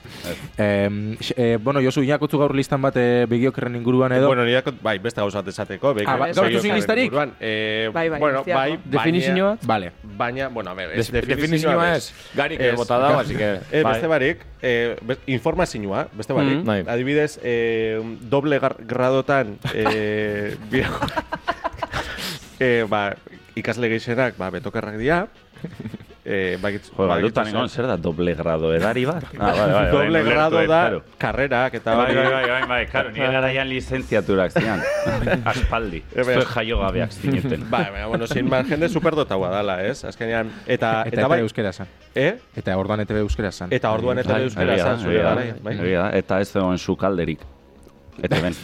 Speaker 2: Eh, eh, bueno, Josu, inakotzu gaur listan bat eh, begiokerren inguruan edo.
Speaker 1: Bueno, nire, bai, beste gauza bat esateko. beki-
Speaker 2: Ah, ba-
Speaker 1: soilik
Speaker 2: gaurko zuen listarik?
Speaker 1: inguruan, eh,
Speaker 3: Bai, bai,
Speaker 1: bueno,
Speaker 3: guztiak,
Speaker 1: bai,
Speaker 3: no?
Speaker 1: baina-
Speaker 5: Definizioa?
Speaker 2: Vale.
Speaker 1: Baina, bueno, a ver, ez,
Speaker 4: Des- Definizioa ez. Garik
Speaker 1: Ez.
Speaker 4: bota dago, así que...
Speaker 1: Eh,
Speaker 4: bai.
Speaker 1: beste barik, eh, be- informazioa, beste barik.
Speaker 4: Mhm. Bai.
Speaker 1: Adibidez, eh, doble gar- gradotan eh, bideo... eh, ba, ikasle gehixenak, ba, betokarrak dira. Eh, bakitz,
Speaker 7: Jo, ba,
Speaker 1: bakitzu
Speaker 7: dutan
Speaker 1: zer.
Speaker 7: egon zer da doble grado edari bat? Ah, bai, bai,
Speaker 1: Doble grado da
Speaker 7: Bai,
Speaker 1: karrerak eta
Speaker 7: bai,
Speaker 1: hori.
Speaker 7: bai, bai, bai, bai, karo, nire garaian lizentziaturak zian. Aspaldi.
Speaker 1: Eh, bai.
Speaker 7: Zue jaio gabeak zineten.
Speaker 1: Bai, baina, bueno, sin man, jende superdotaua dala, ez? Azkenean, eta,
Speaker 2: Eta,
Speaker 1: eta, bai,
Speaker 2: ETV euskera zan.
Speaker 1: eh?
Speaker 2: Eta orduan ETV euskera zan.
Speaker 1: Eta orduan eta
Speaker 7: Bai,
Speaker 1: euskara
Speaker 7: egia da,
Speaker 1: zan zure
Speaker 7: egia da,
Speaker 1: garaian, bai.
Speaker 7: egia da, Eta ez zegoen sukalderik. Eta ben.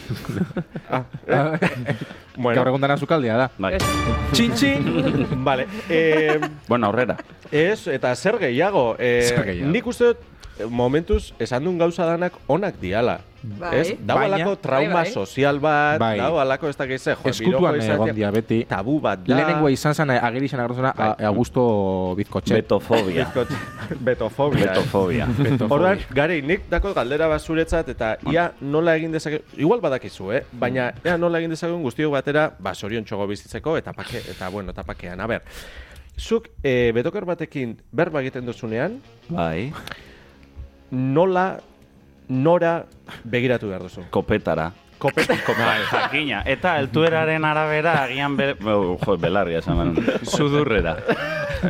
Speaker 1: Bueno,
Speaker 2: Gaur egun dana zukaldia da.
Speaker 7: Bai.
Speaker 1: vale. Eh,
Speaker 7: Bueno, aurrera.
Speaker 1: ez, eta zer gehiago. Eh,
Speaker 2: Zer gehiago.
Speaker 1: Nik uste dut, eh, momentuz, esan duen gauza danak onak diala.
Speaker 3: Bai.
Speaker 1: Ez? Dau
Speaker 2: Baina-
Speaker 1: alako trauma
Speaker 3: Bai, bai.
Speaker 1: sozial bat,
Speaker 2: Bai.
Speaker 1: dau alako ez dakiz, jo, birokoa
Speaker 2: Eskutuan
Speaker 1: izatea,
Speaker 2: egon dia beti.
Speaker 1: Tabu bat da.
Speaker 2: Lehenengoa izan zen ageri izan agertzen zena A- Augusto Bizkotxe.
Speaker 7: Betofobia.
Speaker 1: Bizkot- Betofobia. eh.
Speaker 7: Betofobia.
Speaker 1: Orduan, gari, nik dako galdera bat zuretzat, eta ia nola egin dezake, igual badakizu, eh? Baina, ea nola egin dezakegun guztiok batera, ba, sorion txogo bizitzeko, eta pake, eta bueno, eta pakean, a ber. Zuk, eh, betokar batekin berba egiten duzunean,
Speaker 7: Bai.
Speaker 1: nola, nora begiratu behar duzu.
Speaker 7: Kopetara.
Speaker 1: Kopeta,
Speaker 7: Bai, jakina. Eta altueraren arabera agian be... Bo, jo, belarria esan banon. Sudurrera.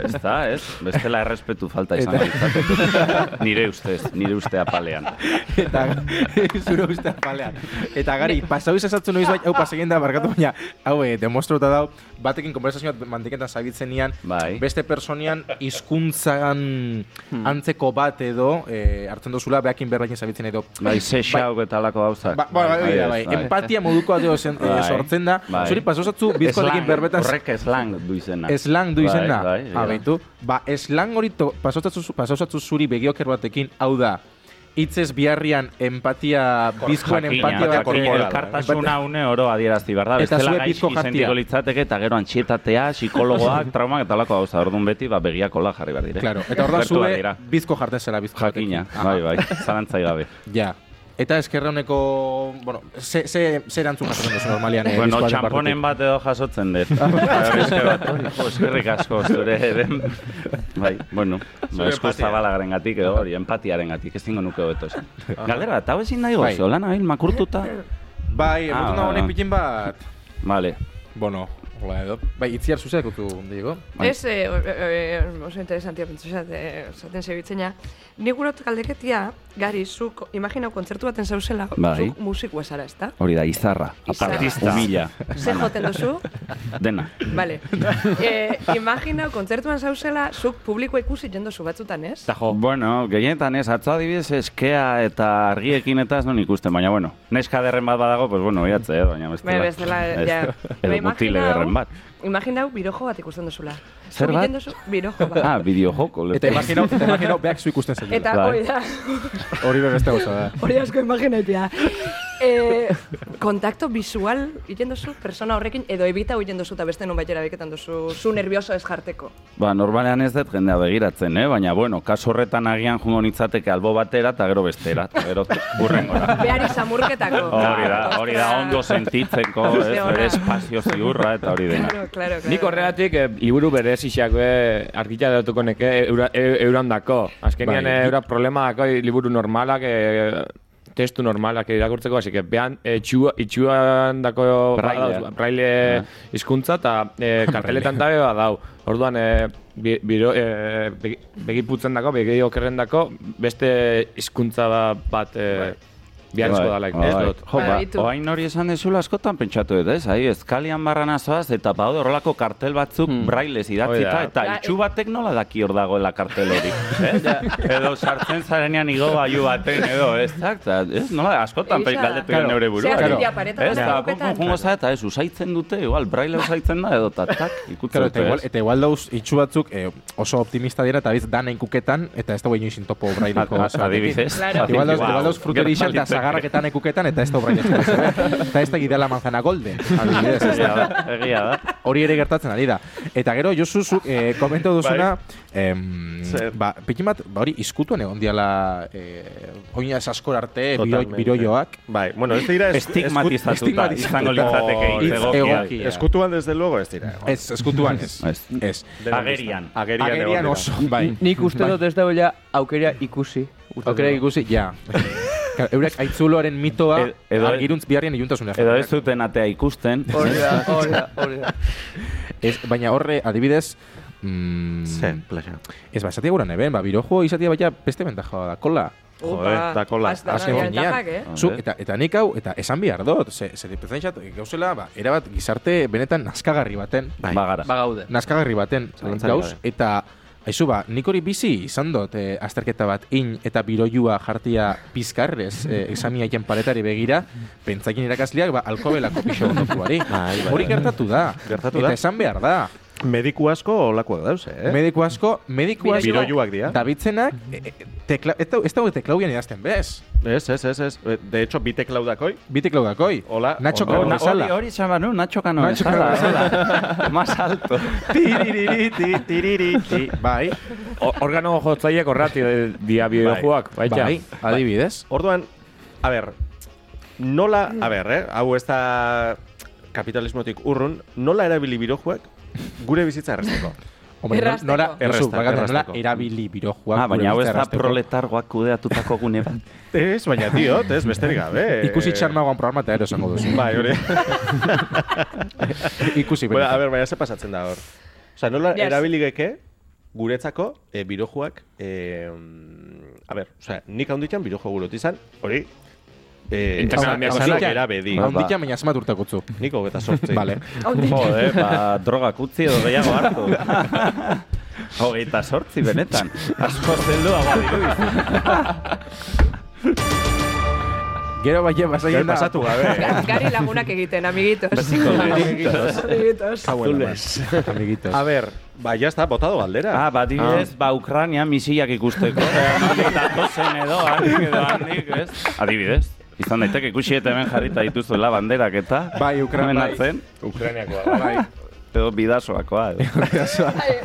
Speaker 7: Ez da, ez? Bestela errespetu falta izan litzateke. Nire ustez, nire uste apalean.
Speaker 2: Eta zure uste apalean. Eta gari, pasau izazatzu noiz bai, hau pasegin da, barkatu baina, hau, eh, demostrota dau, batekin konversazioa mantiketan zabitzen nian,
Speaker 7: Bai.
Speaker 2: beste personian hizkuntzan antzeko bat edo, eh, hartzen dozula, behakin berbakin zabitzen edo.
Speaker 7: Bai, ze xau eta alako gauzak.
Speaker 2: Ba, ba, bai, bai, bai, empatia moduko ateo zen, eh,
Speaker 7: Bai.
Speaker 2: sortzen da.
Speaker 7: Bai.
Speaker 2: Zuri pasozatzu bizkoarekin
Speaker 7: Slang,
Speaker 2: berbetan
Speaker 7: Horrek eslang du izena.
Speaker 2: Eslang du izena.
Speaker 7: Bai, bai,
Speaker 2: Ah, baitu. Ba, eslang hori to- pasatzatzu zu- pasatzatzu zuri begioker batekin, hau da, hitzez biharrian empatia, bizkoen empatia
Speaker 1: jakin,
Speaker 2: bat
Speaker 1: korporala.
Speaker 7: Elkartasuna une oro adierazi behar da.
Speaker 2: Eta
Speaker 7: Bestela
Speaker 2: zue
Speaker 7: gaizki
Speaker 2: bizko jatia.
Speaker 7: sentiko litzateke eta gero antxietatea, psikologoak, traumak eta lako gauza. Orduan beti, ba, begiakola jarri behar dire.
Speaker 2: Claro, eta orduan
Speaker 7: Gertu behar
Speaker 2: zure
Speaker 7: dira.
Speaker 2: bizko jartzen zela bizko
Speaker 7: Jakina,
Speaker 2: batekin.
Speaker 7: bai, bai, zalantzai gabe.
Speaker 2: Ja. Eta eskerra honeko, bueno, ze, ze, ze erantzun jasotzen duzu normalian. eh,
Speaker 7: Bueno,
Speaker 2: bizkoaren
Speaker 7: txamponen
Speaker 2: barrutik?
Speaker 7: bat edo jasotzen dut. Horrezke bat, hori, jo, Eskerrik asko, zure den. Bai, bueno, ba, eskusta balagaren gatik, edo hori, empatiaren gatik, ez dingo nuke hobeto esan. Galdera, eta hau ezin nahi
Speaker 2: Bai.
Speaker 7: gozo, lan hain makurtuta.
Speaker 2: Bai,
Speaker 7: Ah,
Speaker 2: emoten da
Speaker 7: bai,
Speaker 2: honen
Speaker 7: bai.
Speaker 2: pikin bat.
Speaker 7: Vale,
Speaker 2: Bueno, hola edo. Bai, itziar zuzea kutu, Diego.
Speaker 7: Bai.
Speaker 3: Ez, eh, o- o- o- oso interesantia pentsu zat, eh, zaten zebitzena. Ni gurot galdeketia, gari, zuk, imaginau, kontzertu baten zauzela,
Speaker 7: Bai.
Speaker 3: zuk musikoa zara, ez da?
Speaker 7: hori da, izarra,
Speaker 3: Izarra.
Speaker 7: aparta, humila,
Speaker 2: Bai.
Speaker 3: Ze joten duzu?
Speaker 7: dena.
Speaker 3: Bale. Eh, imaginau, kontzertuan zauzela, zuk publikoa ikusi jendozu batzutan, ez?
Speaker 4: Eta jo.
Speaker 7: Bueno, gehienetan ez, atzo adibidez eskea eta argiekin eta ez non ikusten, baina bueno, neska derren bat badago, pues bueno, oiatze, eh, baina bestela.
Speaker 3: Bai, bestela,
Speaker 7: Ez.
Speaker 3: ja. Ba,
Speaker 7: Edo
Speaker 3: imaginau-
Speaker 7: mutile derren bat.
Speaker 3: Imaginau, birojo bat ikusten duzula.
Speaker 7: Zer
Speaker 3: Zuk
Speaker 7: bat?
Speaker 3: egiten duzu Birojo bat.
Speaker 7: Ah, bideojoko.
Speaker 2: Eta
Speaker 7: lepo.
Speaker 2: imagino, eta imagino, behak zu ikusten zenuela.
Speaker 3: Eta
Speaker 7: Bai.
Speaker 3: hori da,
Speaker 2: Hori be beste gauza eh. da.
Speaker 3: hori asko imaginaitea. Eh, kontakto visual egiten duzu persona horrekin edo ebita egiten duzu eta beste non baitera beketan duzu zu nervioso ez jarteko.
Speaker 7: Ba, normalean ez dut jendea begiratzen, eh? baina bueno, kaso horretan agian jungo nitzateke albo batera eta gero bestera, eta gero hurrengora.
Speaker 3: Behar izamurketako.
Speaker 7: Hori da, hori da, ondo sentitzeko, ez,
Speaker 3: Ze ona.
Speaker 7: bere espazio ziurra eta hori dena.
Speaker 3: Claro, claro, claro.
Speaker 4: Nik horregatik eh, liburu berezixak eh, argitza datuko neke eura, e, euran dako. Azkenean
Speaker 2: Bai.
Speaker 4: eh, eura problema dako eh, liburu normalak, eh, testu normalak irakurtzeko, así que behan eh, txua, itxuan dako
Speaker 7: Braille. Ah.
Speaker 4: badauz, braille hizkuntza eta eh, karteletan dabe badau. Orduan, eh, bi, biro, eh, begi- begiputzen dako, begi okerren dako, beste hizkuntza bat eh, Biharrizko
Speaker 7: Bai,
Speaker 4: dalaik.
Speaker 7: bai.
Speaker 4: Ez dut.
Speaker 7: Jo, ba,
Speaker 3: Baditu.
Speaker 7: oain hori esan dezula askotan pentsatu dut, ez? Ahi, ezkalian barran azoaz, eta badu horrelako kartel batzuk brailez idatzita,
Speaker 4: Hoi Hmm. da.
Speaker 7: eta
Speaker 3: Ja,
Speaker 7: itxu batek nola daki hor dagoela kartel hori. ez? edo sartzen zarenean igo baiu baten, edo, ez? da? Eta, ez, nola, askotan
Speaker 3: Egia
Speaker 7: pe-
Speaker 3: da.
Speaker 7: galdetu
Speaker 4: Claro.
Speaker 7: egin neure burua.
Speaker 3: Ze
Speaker 7: Claro.
Speaker 3: agendia pareta
Speaker 7: Ez,
Speaker 3: dago
Speaker 7: da, pum,
Speaker 3: kopetan.
Speaker 7: pum, jungo za, eta ez, usaitzen dute, igual, braile usaitzen da, edo, eta tak, ikutzen
Speaker 2: Claro, eta
Speaker 7: dute,
Speaker 2: igual,
Speaker 7: ez?
Speaker 2: eta igual dauz itxu batzuk eh, oso optimista dira eta biz dana inkuketan eta ez da guain inoizin topo braileko.
Speaker 7: A- Adibidez.
Speaker 3: Claro.
Speaker 2: Igual dauz,
Speaker 7: Wow.
Speaker 2: igual dauz fruterisa eta
Speaker 7: Gerta
Speaker 2: zagarraketan ekuketan eta ez da braileko. eta ez da gidala manzana golden. Adibidez, ez
Speaker 7: Egia
Speaker 2: da.
Speaker 7: da, egia da.
Speaker 2: Hori ere gertatzen ari da. Eta gero, Josu, zuk eh, komento duzuna, em,
Speaker 1: Zer?
Speaker 2: ba, pikin bat, ba, hori, izkutuan egon diala, eh, oinaz askor arte, biro,
Speaker 1: Totalmente.
Speaker 2: biroioak.
Speaker 1: Bai, bueno, ez dira... es-
Speaker 7: Estigmatizatuta
Speaker 2: estigmatizatuta.
Speaker 7: izango litzateke
Speaker 2: Hitz
Speaker 7: hitz egokiak.
Speaker 2: egokia.
Speaker 1: Eskutuan, desde luego, ez dira.
Speaker 2: Ez, ezkutuan ez.
Speaker 7: Ez.
Speaker 2: Ez.
Speaker 7: Agerian.
Speaker 1: Agerian,
Speaker 2: Agerian
Speaker 1: egon dira.
Speaker 2: oso, bai.
Speaker 5: Nik uste dut ez dagoela aukera ikusi. Uste
Speaker 2: Okera ikusi, ja. Claro, Eurek aitzuloaren mitoa
Speaker 7: Edo- edo-
Speaker 2: argiruntz biharrien iluntasuna.
Speaker 7: Edo ez zuten atea ikusten.
Speaker 5: Hori da, hori da, hori da.
Speaker 2: Ez, baina horre, adibidez, mm,
Speaker 1: Zen, playa.
Speaker 2: ez ba, esatia gura neben, ba, birojo izatia baina beste bentaja da, kola.
Speaker 1: Joder, da kola.
Speaker 3: Azta,
Speaker 2: Azken finean.
Speaker 3: eh?
Speaker 2: Zu, eta, eta nik hau, eta esan bihar dut, ze, ze dipetzentzat, gauzela, ba, erabat gizarte benetan nazkagarri baten,
Speaker 7: Bai. Bagara.
Speaker 5: Bagaude.
Speaker 2: nazkagarri baten
Speaker 7: Zalantzarik
Speaker 2: gauz,
Speaker 7: gabe.
Speaker 2: eta Aizu ba, nik hori bizi izan dut eh, azterketa bat in eta biroiua jartia pizkarrez eh, examiaien paretari begira, pentsakin irakasleak ba, alkobelako pixo ondokuari. Hori gertatu da.
Speaker 1: Bai, Gertatu
Speaker 2: eta
Speaker 1: da.
Speaker 2: esan behar da.
Speaker 1: Mediku asko olakoak dauze, eh?
Speaker 2: Mediku asko, mediku asko,
Speaker 1: Biroiuak dira.
Speaker 2: Davidzenak, e, e, tekla, ez dago- ez dago teklauian idazten, bez?
Speaker 1: Ez, ez, ez, ez. De hecho, bi tekladakoi.
Speaker 2: Bi teklau dakoi.
Speaker 1: Hola,
Speaker 2: Nacho Cano
Speaker 1: ondo. Ona-
Speaker 2: bezala.
Speaker 7: Hori, hori esan behar, nu, Nacho Cano
Speaker 2: Nacho Cano
Speaker 7: bezala. eh? Más alto.
Speaker 1: Tiririri, ti, tiriri, ti.
Speaker 2: Bai,
Speaker 4: O- Organo jotzaiek horrati eh, dia bideojuak, baita.
Speaker 2: bai, adibidez.
Speaker 1: Orduan, a ber, nola, a ber, eh, hau ez da kapitalismotik urrun, nola erabili birojuak gure bizitza errezteko.
Speaker 2: Hombre, no-
Speaker 3: Errazteko.
Speaker 2: nora, errazteko,
Speaker 1: Errazteko,
Speaker 2: nola
Speaker 1: errazteko.
Speaker 2: erabili birojoak.
Speaker 7: Ah, baina hau ez da
Speaker 2: errazteko.
Speaker 7: proletargoak kudeatutako gune bat.
Speaker 1: ez, baina diot, ez, besterik gabe.
Speaker 2: Ikusi txarmagoan programa eta ero esango duzu.
Speaker 1: Bai, hori.
Speaker 2: Ikusi
Speaker 1: bueno, a
Speaker 2: benetan.
Speaker 1: ber, baina ze pasatzen da hor. Osa, nola
Speaker 3: Yes.
Speaker 1: erabili geke guretzako e, birojuak, e, mm, a ber, osea, nik handitan birojo gurot izan, hori, e, esan,
Speaker 4: Internazionaleak
Speaker 1: esanak
Speaker 2: Handikan-
Speaker 1: erabedi.
Speaker 7: Ba, ba.
Speaker 2: Handikan, baina asmat urtakutzu.
Speaker 1: Nik hogeta sortzi.
Speaker 2: Vale.
Speaker 7: Jode, ba, drogak utzi edo gehiago hartu. Hogeita sortzi benetan. Asko zeldua badiru.
Speaker 2: Gero baina basaien
Speaker 1: Gai
Speaker 2: da.
Speaker 1: pasatu gabe.
Speaker 3: Ga- Gari lagunak egiten, amiguitos. amiguitos.
Speaker 2: Ah, bueno, ba. Amiguitos.
Speaker 1: A ber, ba, ya está, botado galdera.
Speaker 7: Ah, bat adibidez, ba, Ukrania misilak ikusteko. Eta zen edo, handik edo handik, ez? Adibidez. Izan daiteke ikusi eta hemen jarrita dituzuela banderak eta
Speaker 2: Bai, Ukra-
Speaker 7: hemen
Speaker 2: bai.
Speaker 7: atzen,
Speaker 4: Ukrainiakoa.
Speaker 7: edo bidasoakoa. edo.
Speaker 1: Ai,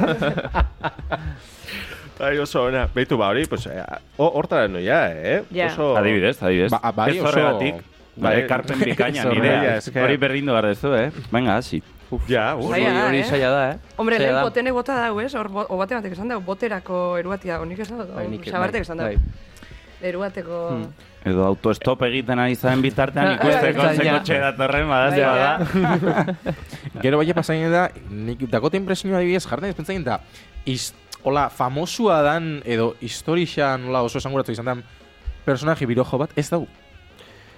Speaker 1: Bai, oso ona. Beitu ba hori, pues, eh, o- hortara noia, eh?
Speaker 3: Ja.
Speaker 1: Oso...
Speaker 7: Adibidez, adibidez.
Speaker 2: Ba, bai,
Speaker 7: ez
Speaker 2: oso-
Speaker 7: horregatik. Bai,
Speaker 1: Bai,
Speaker 7: ekarpen bikaina
Speaker 1: ez
Speaker 7: nirea.
Speaker 1: horregatik, eske.
Speaker 7: Hori berdindu behar dezu, eh? Venga, hasi.
Speaker 1: Ja, uf.
Speaker 3: Zaila da,
Speaker 5: Hori
Speaker 3: eh?
Speaker 5: zaila da, eh?
Speaker 3: Hombre,
Speaker 5: Zaila
Speaker 3: lehen
Speaker 5: da.
Speaker 3: botenek bota dago, ez? Hor, bo- o bate batek esan dago, boterako eruatia, honik esan dago,
Speaker 5: Bai, nik-
Speaker 3: sabartek esan dago.
Speaker 5: bai.
Speaker 3: Eruateko...
Speaker 7: Edo autostop egiten ari zaren bitartean ikusteko
Speaker 5: Ertzaina.
Speaker 7: ze kotxe datorren badaz
Speaker 3: Bai,
Speaker 7: ja
Speaker 3: ja.
Speaker 7: da.
Speaker 2: Gero baina pasaien da, nik dagote impresioa adibidez jartzen ez pentsaien da, iz, hola, famosua dan, edo historixa nola oso esanguratu izan dan, personaje birojo bat, ez dau.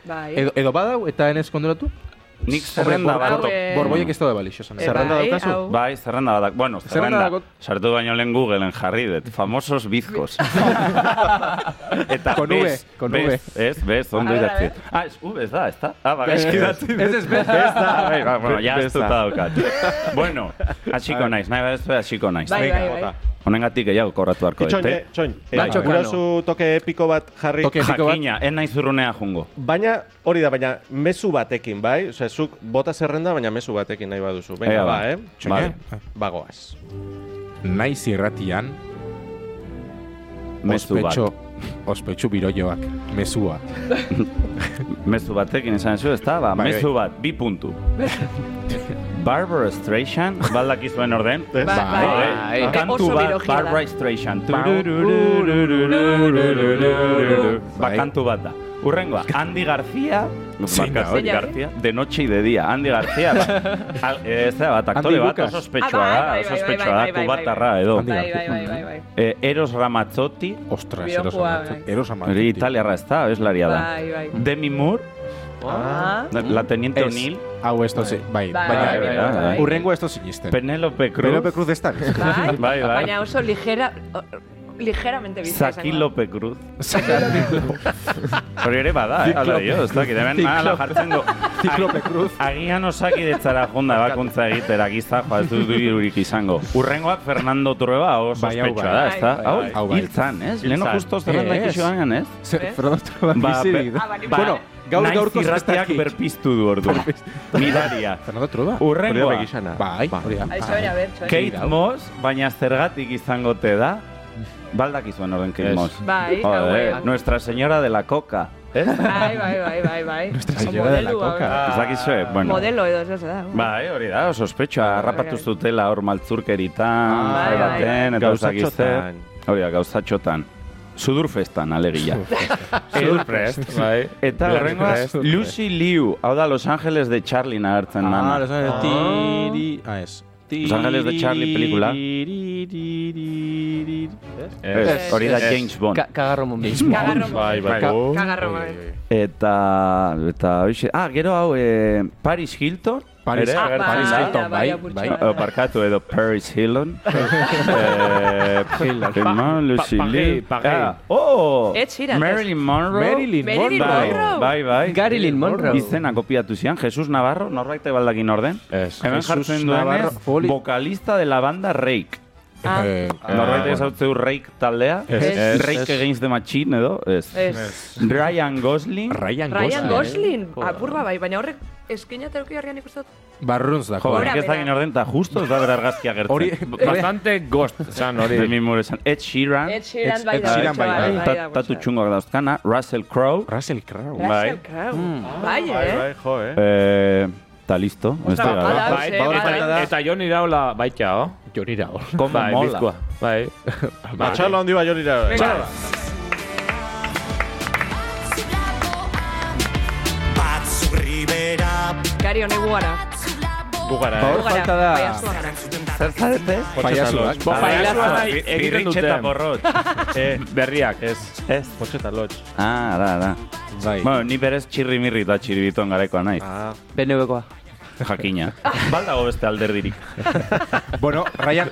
Speaker 3: Bai.
Speaker 2: Edo, edo badau, eta enez konduratu,
Speaker 7: Nik zerrenda
Speaker 3: Hombre,
Speaker 7: bat.
Speaker 3: hau, eh,
Speaker 2: borboiek ez daude balixo esan.
Speaker 3: Eh,
Speaker 2: Zerra-
Speaker 1: zerrenda
Speaker 3: bai,
Speaker 1: daukazu?
Speaker 3: hau.
Speaker 7: Bai, zerrenda badak. Bueno,
Speaker 2: Zerrenda
Speaker 7: zerrenda.
Speaker 2: dakot.
Speaker 7: Sartu baino lehen Googleen jarri dut. Famosos bizkos. Eta
Speaker 2: Con V,
Speaker 7: bez,
Speaker 2: con
Speaker 7: bez, Ez, bez,
Speaker 3: A
Speaker 7: ondo
Speaker 3: ver, a
Speaker 7: idatzi.
Speaker 3: ver.
Speaker 7: Ah, ez V ez da, ez da? Ah, baga, eski idatzi.
Speaker 2: Ez ez
Speaker 7: Ez da, bai, ba, bueno,
Speaker 1: Bez
Speaker 7: ja ez
Speaker 1: da.
Speaker 7: dut daukat. Bueno, hasiko naiz, nahi badezue hasiko naiz.
Speaker 3: Bai, bai, bai.
Speaker 1: bota.
Speaker 7: Honengatik gehiago kobratu beharko
Speaker 1: Itxoin,
Speaker 7: dut,
Speaker 1: eh,
Speaker 7: eh?
Speaker 1: txoin. Eh,
Speaker 5: Nacho Cano.
Speaker 1: gurasu toke epiko bat jarri.
Speaker 2: Toke epiko bat.
Speaker 7: Jakina, ez naiz urrunea jungo.
Speaker 1: Baina, hori da, baina mezu batekin, bai? Osea, zuk bota zerrenda, baina mezu batekin nahi baduzu. Venga,
Speaker 7: Ea,
Speaker 1: ba,
Speaker 7: ba.
Speaker 1: eh?
Speaker 7: Vale.
Speaker 1: Bagoaz.
Speaker 2: Naiz irratian,
Speaker 7: Mezu bat.
Speaker 2: ospetxo, ospetxu biroioak, mezua.
Speaker 7: Mezu batekin esan zu, ezta? Ba,
Speaker 2: Bai,
Speaker 7: mezu bat, bi puntu. Barbara Streisand, baldak zuen orden.
Speaker 3: Ba- bai.
Speaker 7: Bai,
Speaker 3: Eh,
Speaker 7: Kantu
Speaker 3: oso
Speaker 7: bat,
Speaker 3: biologia da.
Speaker 7: Barbara Streisand.
Speaker 2: Ba-
Speaker 7: Tururururururururu. Ba,
Speaker 2: Bai.
Speaker 7: kantu bat da. Urrengoa, Andy García, barkatu,
Speaker 3: hori.
Speaker 7: García, de noche y de día. Andy García, ba, al- eh, ez da, bat, aktore
Speaker 2: Andy
Speaker 7: bat,
Speaker 2: Lucas.
Speaker 7: oso
Speaker 3: Ah,
Speaker 7: ospetsua da,
Speaker 3: bai, bai,
Speaker 7: oso
Speaker 3: bai,
Speaker 7: ospetsua
Speaker 3: bai,
Speaker 7: da,
Speaker 3: bai, bai, bai.
Speaker 7: kubatarra edo.
Speaker 2: Andy
Speaker 3: Bai, bai, bai, bai, bai.
Speaker 7: Eh, Eros Ramazzotti,
Speaker 2: Ostras,
Speaker 3: Bideojoa,
Speaker 2: eros amatu.
Speaker 3: bai.
Speaker 2: Eros amatu.
Speaker 7: hori italiarra ez da, abeslaria da.
Speaker 3: Bai, bai.
Speaker 7: Demi Moore,
Speaker 3: Ah,
Speaker 7: la Teniente O'Neill,
Speaker 2: Hau ez tozi, bai,
Speaker 3: Bai,
Speaker 2: baina
Speaker 7: bai, bai, bai.
Speaker 2: urrengo ez tozi nisten.
Speaker 7: Penélope Cruz,
Speaker 2: Penelope Cruz ez da.
Speaker 3: bai.
Speaker 7: Bai, bai.
Speaker 3: Baina oso ligera, o- ligeramente bizitza.
Speaker 7: Zaki Lope Cruz. Hori ere bada, eh?
Speaker 2: Ziklope.
Speaker 7: Ala dio, ez dakit, hemen ala jartzen du.
Speaker 2: Ziklope Cruz.
Speaker 7: Agian osaki detzara jonda bakuntza egitera gizta, joa, ez dut dirurik izango. Urrengoak Fernando Trueba oso
Speaker 2: Bai, hau
Speaker 7: ospetsua
Speaker 2: bai.
Speaker 7: da, ez da?
Speaker 3: Bai,
Speaker 2: bai. Hau
Speaker 7: Hau,
Speaker 2: bai.
Speaker 7: hiltzan, ez? Leno
Speaker 4: Hiltzan.
Speaker 7: justo zerrenda
Speaker 2: Ez.
Speaker 7: ikusi banan, ez?
Speaker 3: Eh?
Speaker 2: Fernando
Speaker 7: Ba,
Speaker 2: bizirik.
Speaker 7: pe-
Speaker 3: Ah, bale,
Speaker 7: ba,
Speaker 3: Bueno,
Speaker 2: gaur
Speaker 7: naiz
Speaker 2: gaurkoz ez da
Speaker 7: irratiak
Speaker 2: hit.
Speaker 7: berpiztu du orduan. Miraria.
Speaker 2: Fernando Trueba?
Speaker 1: Hori da
Speaker 7: Urrengoa,
Speaker 1: begixana.
Speaker 4: Ba,
Speaker 2: Bai, hori da.
Speaker 3: Aixo, bera, bertxo. eh?
Speaker 7: Kate Moss, baina zergatik izango te da? Baldak izuen horren Kate
Speaker 4: Ez.
Speaker 7: Moss.
Speaker 3: Bai,
Speaker 7: Joder, eh,
Speaker 3: hau, bai.
Speaker 7: Nuestra Señora de la Coca. ¿Eh?
Speaker 3: Bai, bai, bai, bai, bai. Nuestra
Speaker 2: Señora de la Coca.
Speaker 7: Ez dakizue, bueno.
Speaker 3: Modelo edo ez da.
Speaker 7: Ah. Bai, hori da, sospetxoa, harrapatu
Speaker 3: bai.
Speaker 7: zutela hor maltzurkeritan,
Speaker 2: Ah,
Speaker 3: bai,
Speaker 7: jai baten, eta
Speaker 1: Gauzatxotan.
Speaker 7: uzakiz zer. Hori da, gauzatxotan. Sudurfestan, alegia.
Speaker 4: Surprest, bai.
Speaker 7: Eta horrengoaz,
Speaker 4: Surprest.
Speaker 7: Lucy Liu, hau da Los Angeles de Charlie nagertzen
Speaker 2: Ah,
Speaker 7: dana.
Speaker 2: Los Ángeles de Tiri... Ah, ez.
Speaker 7: Los Ángeles de Charlie pelikula.
Speaker 1: Eh,
Speaker 7: Ez, Hori da
Speaker 4: Ez.
Speaker 7: James Bond.
Speaker 5: Ka kagarro mun bi.
Speaker 3: Kagarro.
Speaker 4: Bai, bai.
Speaker 2: Ka-
Speaker 4: Oh.
Speaker 3: Kagarro, bai.
Speaker 7: Eta, eta, hoxe- ah, gero hau, eh, Paris Hilton.
Speaker 2: Paris-
Speaker 7: ere
Speaker 2: Ah,
Speaker 7: agertzen
Speaker 2: Paris
Speaker 7: da.
Speaker 2: Hilton, bai, bai.
Speaker 7: Eh, Barkatu edo Paris Hilton. eh, Hilton, Lucy
Speaker 4: pa- Parrey,
Speaker 7: Liu.
Speaker 4: Parrey.
Speaker 7: Ah, Oh!
Speaker 3: Ed Sheeran.
Speaker 7: Marilyn Monroe.
Speaker 2: Marilyn
Speaker 3: Marilyn
Speaker 7: Bai,
Speaker 3: Monroe.
Speaker 7: Bai, bai.
Speaker 5: Garilyn Monroe.
Speaker 7: Izena kopiatu zian, Jesus Navarro, norbait baldakin orden.
Speaker 4: Ez.
Speaker 7: Hemen
Speaker 2: Jesus
Speaker 7: jartzen
Speaker 2: Navarro,
Speaker 7: duenez,
Speaker 2: poli-
Speaker 7: vocalista de la banda Rake.
Speaker 3: Ah,
Speaker 2: Eh,
Speaker 7: Norbait ez hau Rake taldea.
Speaker 3: Ez. Ez.
Speaker 7: Rake Against the Machine edo, ez.
Speaker 3: ez.
Speaker 7: Ryan Gosling.
Speaker 2: Ryan Gosling.
Speaker 3: Ryan Gosling, apur bat bai, baina horrek eskina teroki horrean ikustut.
Speaker 2: Barruntz da.
Speaker 7: Jo,
Speaker 3: Gora
Speaker 7: nik ez
Speaker 3: behera.
Speaker 7: dakit orden, eta justo ez da bera argazkia gertzen.
Speaker 2: Hori...
Speaker 7: Bai.
Speaker 4: Bastante ghost, zan hori.
Speaker 7: Demi Moore esan. Ed Sheeran.
Speaker 3: Ed Sheeran bai
Speaker 2: Ed
Speaker 3: da.
Speaker 2: Sheeran bai,
Speaker 7: Ta-
Speaker 2: bai.
Speaker 3: da,
Speaker 7: Tatu
Speaker 3: gustatu.
Speaker 7: txungoak dauzkana. Russell Crowe.
Speaker 2: Russell Crowe.
Speaker 3: Russell
Speaker 7: Bai.
Speaker 3: Crowe.
Speaker 2: Mm.
Speaker 3: Bai,
Speaker 1: Bai,
Speaker 3: eh?
Speaker 1: bai, jo, eh.
Speaker 7: Eh, Eta listo. ez da,
Speaker 3: Ba, bada,
Speaker 7: gara.
Speaker 4: Bai,
Speaker 3: hauxe, bada.
Speaker 4: eta- eta Jon Iraola baita, o?
Speaker 2: Jorira hor.
Speaker 7: Como
Speaker 4: Bai,
Speaker 7: mola.
Speaker 4: bizkoa. Bai.
Speaker 1: Matxalo handi bai hori da. bai.
Speaker 3: Venga. Gari honek gugara.
Speaker 4: Bugara, eh?
Speaker 2: Hor
Speaker 3: Gugara,
Speaker 2: falta da-
Speaker 3: bai, asua gara.
Speaker 7: Zer zarete?
Speaker 2: Paiasuak.
Speaker 4: Bo, pailazoa da, egiten
Speaker 7: Birritxe eta
Speaker 4: duten.
Speaker 7: porrot.
Speaker 4: Eh, Berriak. Ez.
Speaker 7: Ez.
Speaker 1: Potxe eta lotx.
Speaker 7: Ah, da, da.
Speaker 2: Bai.
Speaker 7: Bueno, ni berez txirrimirri eta txiribiton garaikoa naiz.
Speaker 1: Ah,
Speaker 5: BNB-koa.
Speaker 7: Jakina. Baldago beste alderdirik.
Speaker 2: Bueno, Ryan...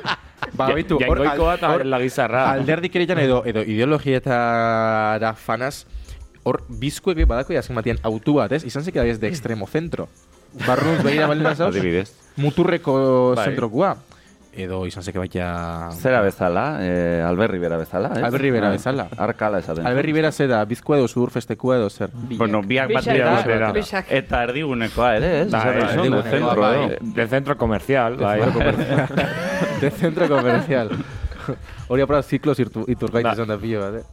Speaker 2: Ba, bitu, hor
Speaker 4: Jaingoikoa
Speaker 2: al-
Speaker 4: eta
Speaker 2: hor
Speaker 4: lagizarra.
Speaker 2: alderdikeritan edo, edo ideologietara fanaz, hor bizkoek be badako jazken batean autu bat, ez? Izan zeke da ez de extremo centro. Barruntz begira baldin bazauz,
Speaker 7: Adibidez.
Speaker 2: muturreko
Speaker 4: Bai.
Speaker 2: zentrokua. Edo izan zeke baita...
Speaker 7: Zera bezala, eh, Alberri bera bezala, ez?
Speaker 2: Albert Rivera
Speaker 7: Ah,
Speaker 2: bezala.
Speaker 7: Arkala esaten.
Speaker 2: Alberri bera zera, bizkoa edo sudurfestekua edo zer.
Speaker 7: Bueno, biak bat
Speaker 3: Bixak
Speaker 7: dira
Speaker 3: da,
Speaker 7: bezala.
Speaker 3: bixak.
Speaker 7: Eta erdigunekoa ere, ez?
Speaker 4: Bai,
Speaker 7: Esan duzun,
Speaker 2: erdigunekoa,
Speaker 7: de zentro
Speaker 2: bai.
Speaker 7: edo.
Speaker 4: De centro comercial, bai.
Speaker 2: De centro comercial. Hori apura ziklos irtu- iturgait
Speaker 4: Ba.
Speaker 2: izan da pilo bat, eh?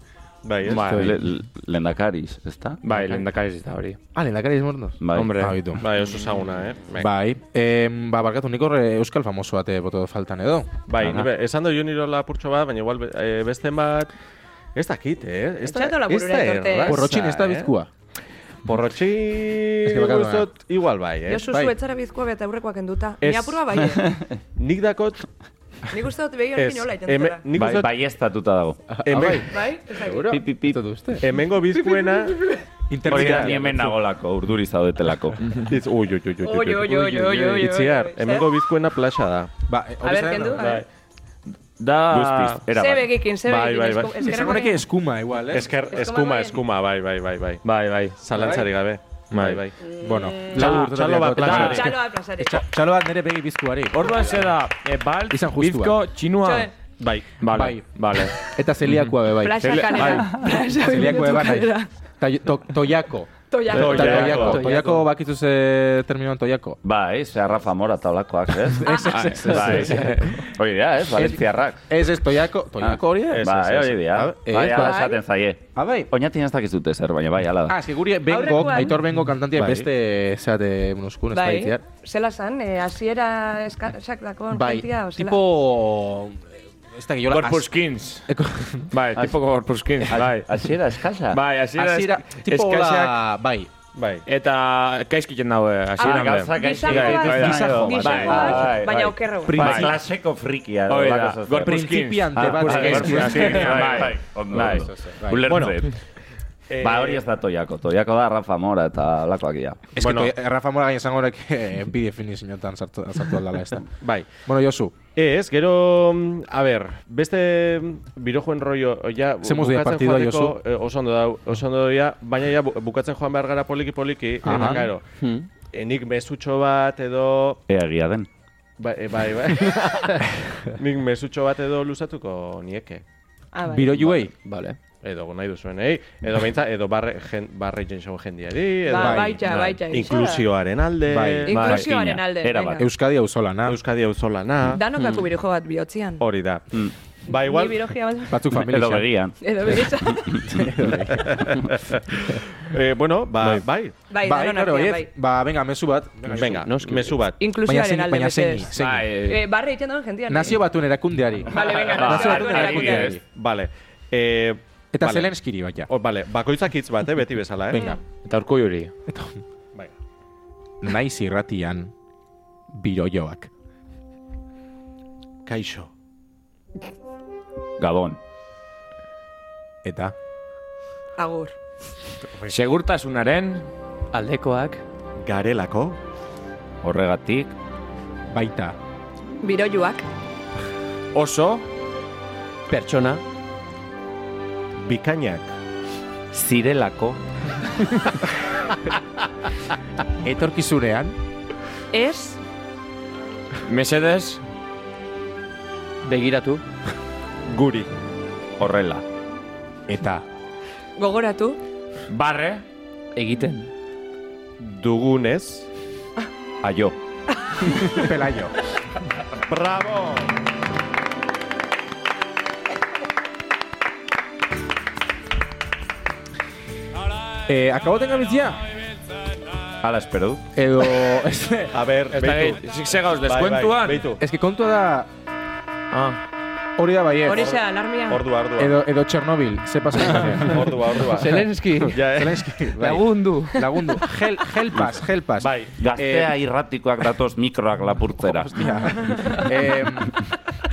Speaker 1: bai, ez.
Speaker 4: Bai.
Speaker 7: Le- le- Lendakariz, ezta?
Speaker 4: Bai, lehendakari ez da hori.
Speaker 2: Ah, lehendakari izmordoz?
Speaker 7: Bai.
Speaker 4: Hombre.
Speaker 2: Ah, bitu.
Speaker 1: Bai, oso saguna, eh. Bai,
Speaker 2: Bai, em, ba, barkatu nik hor eh, euskal famoso bate boto faltan edo.
Speaker 1: bai
Speaker 7: Aha.
Speaker 1: ni be- esan do Joni Lola purtxo bat, baina igual be- eh, beste bat... Ez dakit, eh? Ez da,
Speaker 3: Etxeatu
Speaker 1: ez
Speaker 3: laburura
Speaker 1: da
Speaker 3: etorte.
Speaker 1: erraza,
Speaker 2: Porrotxin ez da
Speaker 1: eh?
Speaker 2: Pues bizkua.
Speaker 1: Porrotxin...
Speaker 2: que bakatu
Speaker 1: gustot, Igual bai, eh?
Speaker 3: Josu
Speaker 2: Bai.
Speaker 3: zuetzara bizkoa beta aurrekoak enduta.
Speaker 1: Ez.
Speaker 3: Ni apurua bai. eh?
Speaker 1: Nik dakot...
Speaker 3: Nik uste dut behi
Speaker 1: Ez,
Speaker 3: horrekin hola
Speaker 1: eme-
Speaker 3: itentzera.
Speaker 1: nik
Speaker 7: Bai,
Speaker 1: uste...
Speaker 7: bai ez datuta dago.
Speaker 1: Hemen,
Speaker 3: Bai? Ez dakit.
Speaker 2: Seguro?
Speaker 7: Pip, pip, pip.
Speaker 2: Zut uste.
Speaker 1: hemengo bizkuena...
Speaker 7: Hori da, ni hemen nagolako, urduri zaudetelako.
Speaker 1: Itz, ui, ui, ui, ui,
Speaker 3: Oi, oi, oi, oi, oi, oi,
Speaker 1: Itziar,
Speaker 3: oi, oi.
Speaker 1: hemengo bizkuena plaxa da.
Speaker 2: Ba, eh,
Speaker 3: A
Speaker 2: hori
Speaker 3: ber,
Speaker 2: zaren-
Speaker 3: kendu.
Speaker 2: Bai.
Speaker 4: Da...
Speaker 7: Guztiz, era
Speaker 3: Ze
Speaker 7: bat.
Speaker 3: begikin, ze
Speaker 1: Bai, bai, bai.
Speaker 3: begikin. esku-
Speaker 2: Esango
Speaker 3: eskerrak-
Speaker 2: nuke eskuma, igual, eh?
Speaker 1: Esker,
Speaker 3: Eskuma
Speaker 1: eskuma,
Speaker 3: bai.
Speaker 1: eskuma, bai, bai, bai, bai.
Speaker 4: Bai, bai.
Speaker 1: Zalantzari gabe. Bai, bai.
Speaker 2: Bueno,
Speaker 1: Txalo,
Speaker 2: labur,
Speaker 1: txalo
Speaker 2: labur,
Speaker 1: bat
Speaker 2: labur.
Speaker 1: plaxari.
Speaker 3: Txalo aplazari.
Speaker 2: Txa- Txalo bat nire begi bizkuari.
Speaker 4: Orduan ze da, e, balt,
Speaker 2: Izan justua.
Speaker 4: bizko, txinua.
Speaker 3: Txoen.
Speaker 1: Bai.
Speaker 4: Vale,
Speaker 2: Bai.
Speaker 4: vale.
Speaker 2: Eta zeliakua be bai.
Speaker 3: Plaza kanera. Plaza
Speaker 2: Zeliakua be bai.
Speaker 3: kanera.
Speaker 2: Ta- to- Toiako.
Speaker 3: Toiak.
Speaker 2: Ta-
Speaker 4: Toiako.
Speaker 2: Toiako. Toiako bakizu ze terminoan toiako.
Speaker 7: Bai, ze Rafa Mora taulakoak, ez?
Speaker 2: Ez, ez, ez, ez,
Speaker 7: Bai. Hori dira, ez? Valentziarrak.
Speaker 2: Ez, ez, toiako. Toiako hori da?
Speaker 7: Ah, ez, bai, hori dira.
Speaker 2: Ah, ez,
Speaker 7: Bai, ala
Speaker 2: bai.
Speaker 7: esaten zaie.
Speaker 2: Ah, bai.
Speaker 7: Oñatin ez dakizute zer, baina bai, ala
Speaker 2: Ah,
Speaker 7: da.
Speaker 2: eske guri bengo,
Speaker 3: Aurrekoan.
Speaker 2: aitor bengo kantantiak
Speaker 1: Bai.
Speaker 2: beste eh, zeate munuskun, ez da
Speaker 3: Bai,
Speaker 2: itziar.
Speaker 3: zela zan, eh, hasiera eskasak dako
Speaker 2: Bai,
Speaker 3: kantia, o zela.
Speaker 2: tipo... ez da giola...
Speaker 4: pues, Corpuskins. Bai, tipo Corpuskins, bai.
Speaker 7: Hasiera eskasa.
Speaker 5: Ba,
Speaker 4: Bai, hasiera
Speaker 2: Azira,
Speaker 4: esk-
Speaker 2: tipo
Speaker 4: eskasak
Speaker 2: hola, bai.
Speaker 1: Bai.
Speaker 4: eta gaizkiten daude hasieran.
Speaker 7: Ah,
Speaker 4: be.
Speaker 7: gauzak gaizki
Speaker 4: Bai,
Speaker 7: gaituzten.
Speaker 4: bai,
Speaker 7: Bai,
Speaker 3: Gisakoak,
Speaker 7: bai,
Speaker 3: baina
Speaker 7: bai, bai.
Speaker 3: okerrago.
Speaker 7: Ba,
Speaker 4: Bai.
Speaker 7: klaseko frikia.
Speaker 4: Hoi da,
Speaker 7: holako zozer.
Speaker 4: gorpuz-
Speaker 2: Principiante
Speaker 7: Ah,
Speaker 2: bat.
Speaker 7: bai,
Speaker 2: ez.
Speaker 7: gorpuz- azken, bai,
Speaker 4: bai.
Speaker 7: bai. Ondo,
Speaker 4: Bai.
Speaker 7: ondo.
Speaker 2: Bai.
Speaker 7: Ulertze.
Speaker 1: Eh,
Speaker 7: Ba, hori ez da toiako. Toiako da Rafa Mora eta lakoak dira.
Speaker 2: Ez
Speaker 1: Bueno.
Speaker 2: bueno. Rafa Mora gaina esango horrek eh, bi definizioetan sartu, sartu aldala ez da.
Speaker 1: Bai.
Speaker 2: bueno, Josu,
Speaker 1: Ez, gero, mm, a ber, beste mm, birojoen rollo, ja, bu-
Speaker 2: Zemuz dira partidua, Josu?
Speaker 1: eh, oso ondo dau, oso ondo dira, baina ja bu- bukatzen joan behar gara eh, poliki-poliki, eta, karo,
Speaker 2: Hmm.
Speaker 1: enik mezutxo eh, bat edo,
Speaker 7: Egia den.
Speaker 1: bai, eh, bai, bai, nik mezutxo bat edo luzatuko nieke,
Speaker 3: Ah, bai.
Speaker 2: biro juei.
Speaker 5: Vale.
Speaker 1: edo nahi duzuenei, edo beintza, edo barre, jen, barre jentxau jendiari,
Speaker 6: bai.
Speaker 1: edo
Speaker 3: Ba, baita, baita.
Speaker 1: inklusioaren alde,
Speaker 2: Bai.
Speaker 1: ba,
Speaker 3: Inklusioaren
Speaker 7: Ba,
Speaker 3: alde.
Speaker 7: erabat.
Speaker 3: venga.
Speaker 2: Euskadi auzolana.
Speaker 1: Euskadi auzolana,
Speaker 3: Danokako birojo bat bihotzian.
Speaker 1: hori da. Ba,
Speaker 3: Ni
Speaker 1: igual,
Speaker 3: birojia bat...
Speaker 2: Batzuk familia.
Speaker 7: Edo begian.
Speaker 3: Edo begitza.
Speaker 1: eh, bueno, ba, bai,
Speaker 2: Bai,
Speaker 3: Bai, danon
Speaker 2: claro,
Speaker 3: artean,
Speaker 2: ez.
Speaker 3: bai.
Speaker 2: Ba, venga, mezu bat.
Speaker 1: venga,
Speaker 5: Noski.
Speaker 1: mezu bat.
Speaker 2: Baina
Speaker 3: Inklusioaren
Speaker 2: zein,
Speaker 3: alde,
Speaker 2: baina zein,
Speaker 3: mesedez.
Speaker 4: Bai,
Speaker 2: zein.
Speaker 4: eh,
Speaker 3: Eh, barre egiten duen jendean.
Speaker 2: Nazio ba- batuen erakundeari.
Speaker 3: Vale, venga,
Speaker 4: Ba,
Speaker 3: nazio
Speaker 4: ba,
Speaker 3: batuen
Speaker 4: adibidez.
Speaker 3: erakundeari.
Speaker 1: Vale. Eh,
Speaker 2: Eta
Speaker 1: vale.
Speaker 2: Zelenskiri baita.
Speaker 1: Oh, vale, bakoitzak hitz bat, eh, beti bezala, eh?
Speaker 2: Venga.
Speaker 4: Eta urku juri.
Speaker 1: Bai.
Speaker 2: Naiz irratian biroioak.
Speaker 1: Kaixo.
Speaker 7: Gabon.
Speaker 2: Eta
Speaker 3: Agur.
Speaker 4: Segurtasunaren
Speaker 5: Aldekoak
Speaker 1: Garelako.
Speaker 7: Horregatik.
Speaker 2: baita
Speaker 3: Biroioak.
Speaker 4: oso
Speaker 5: pertsona
Speaker 1: Bikainak.
Speaker 7: Zirelako.
Speaker 2: etorkizunean
Speaker 3: Ez,
Speaker 4: mesedez
Speaker 5: begiratu
Speaker 1: Guri.
Speaker 7: Horrela.
Speaker 2: eta
Speaker 3: gogoratu.
Speaker 4: barre
Speaker 5: egiten
Speaker 1: Dugunez.
Speaker 7: Aio.
Speaker 2: pelaio.
Speaker 1: Bravo!
Speaker 2: eh, akabo tenga bizia?
Speaker 7: Hala espero du.
Speaker 2: Edo... ez-
Speaker 1: A ber,
Speaker 4: Ez da
Speaker 1: beitu.
Speaker 4: gehi, segauz
Speaker 1: Bai, bai,
Speaker 4: deskuentuan.
Speaker 1: beitu.
Speaker 2: Ez que kontua da...
Speaker 4: Ah,
Speaker 2: Hori da bai, eh. baiet.
Speaker 3: Hori xa, alarmia.
Speaker 1: Ordua, ordua.
Speaker 2: Edo, edo Txernobil, ze pasatzen.
Speaker 1: Ordua, ordua.
Speaker 5: Zelenski
Speaker 1: Ja, eh?
Speaker 5: lagundu
Speaker 2: Lagundu. Hel, helpas, helpas.
Speaker 1: Bai.
Speaker 7: Gaztea irratikoak datoz mikroak lapurtzera.
Speaker 2: eh,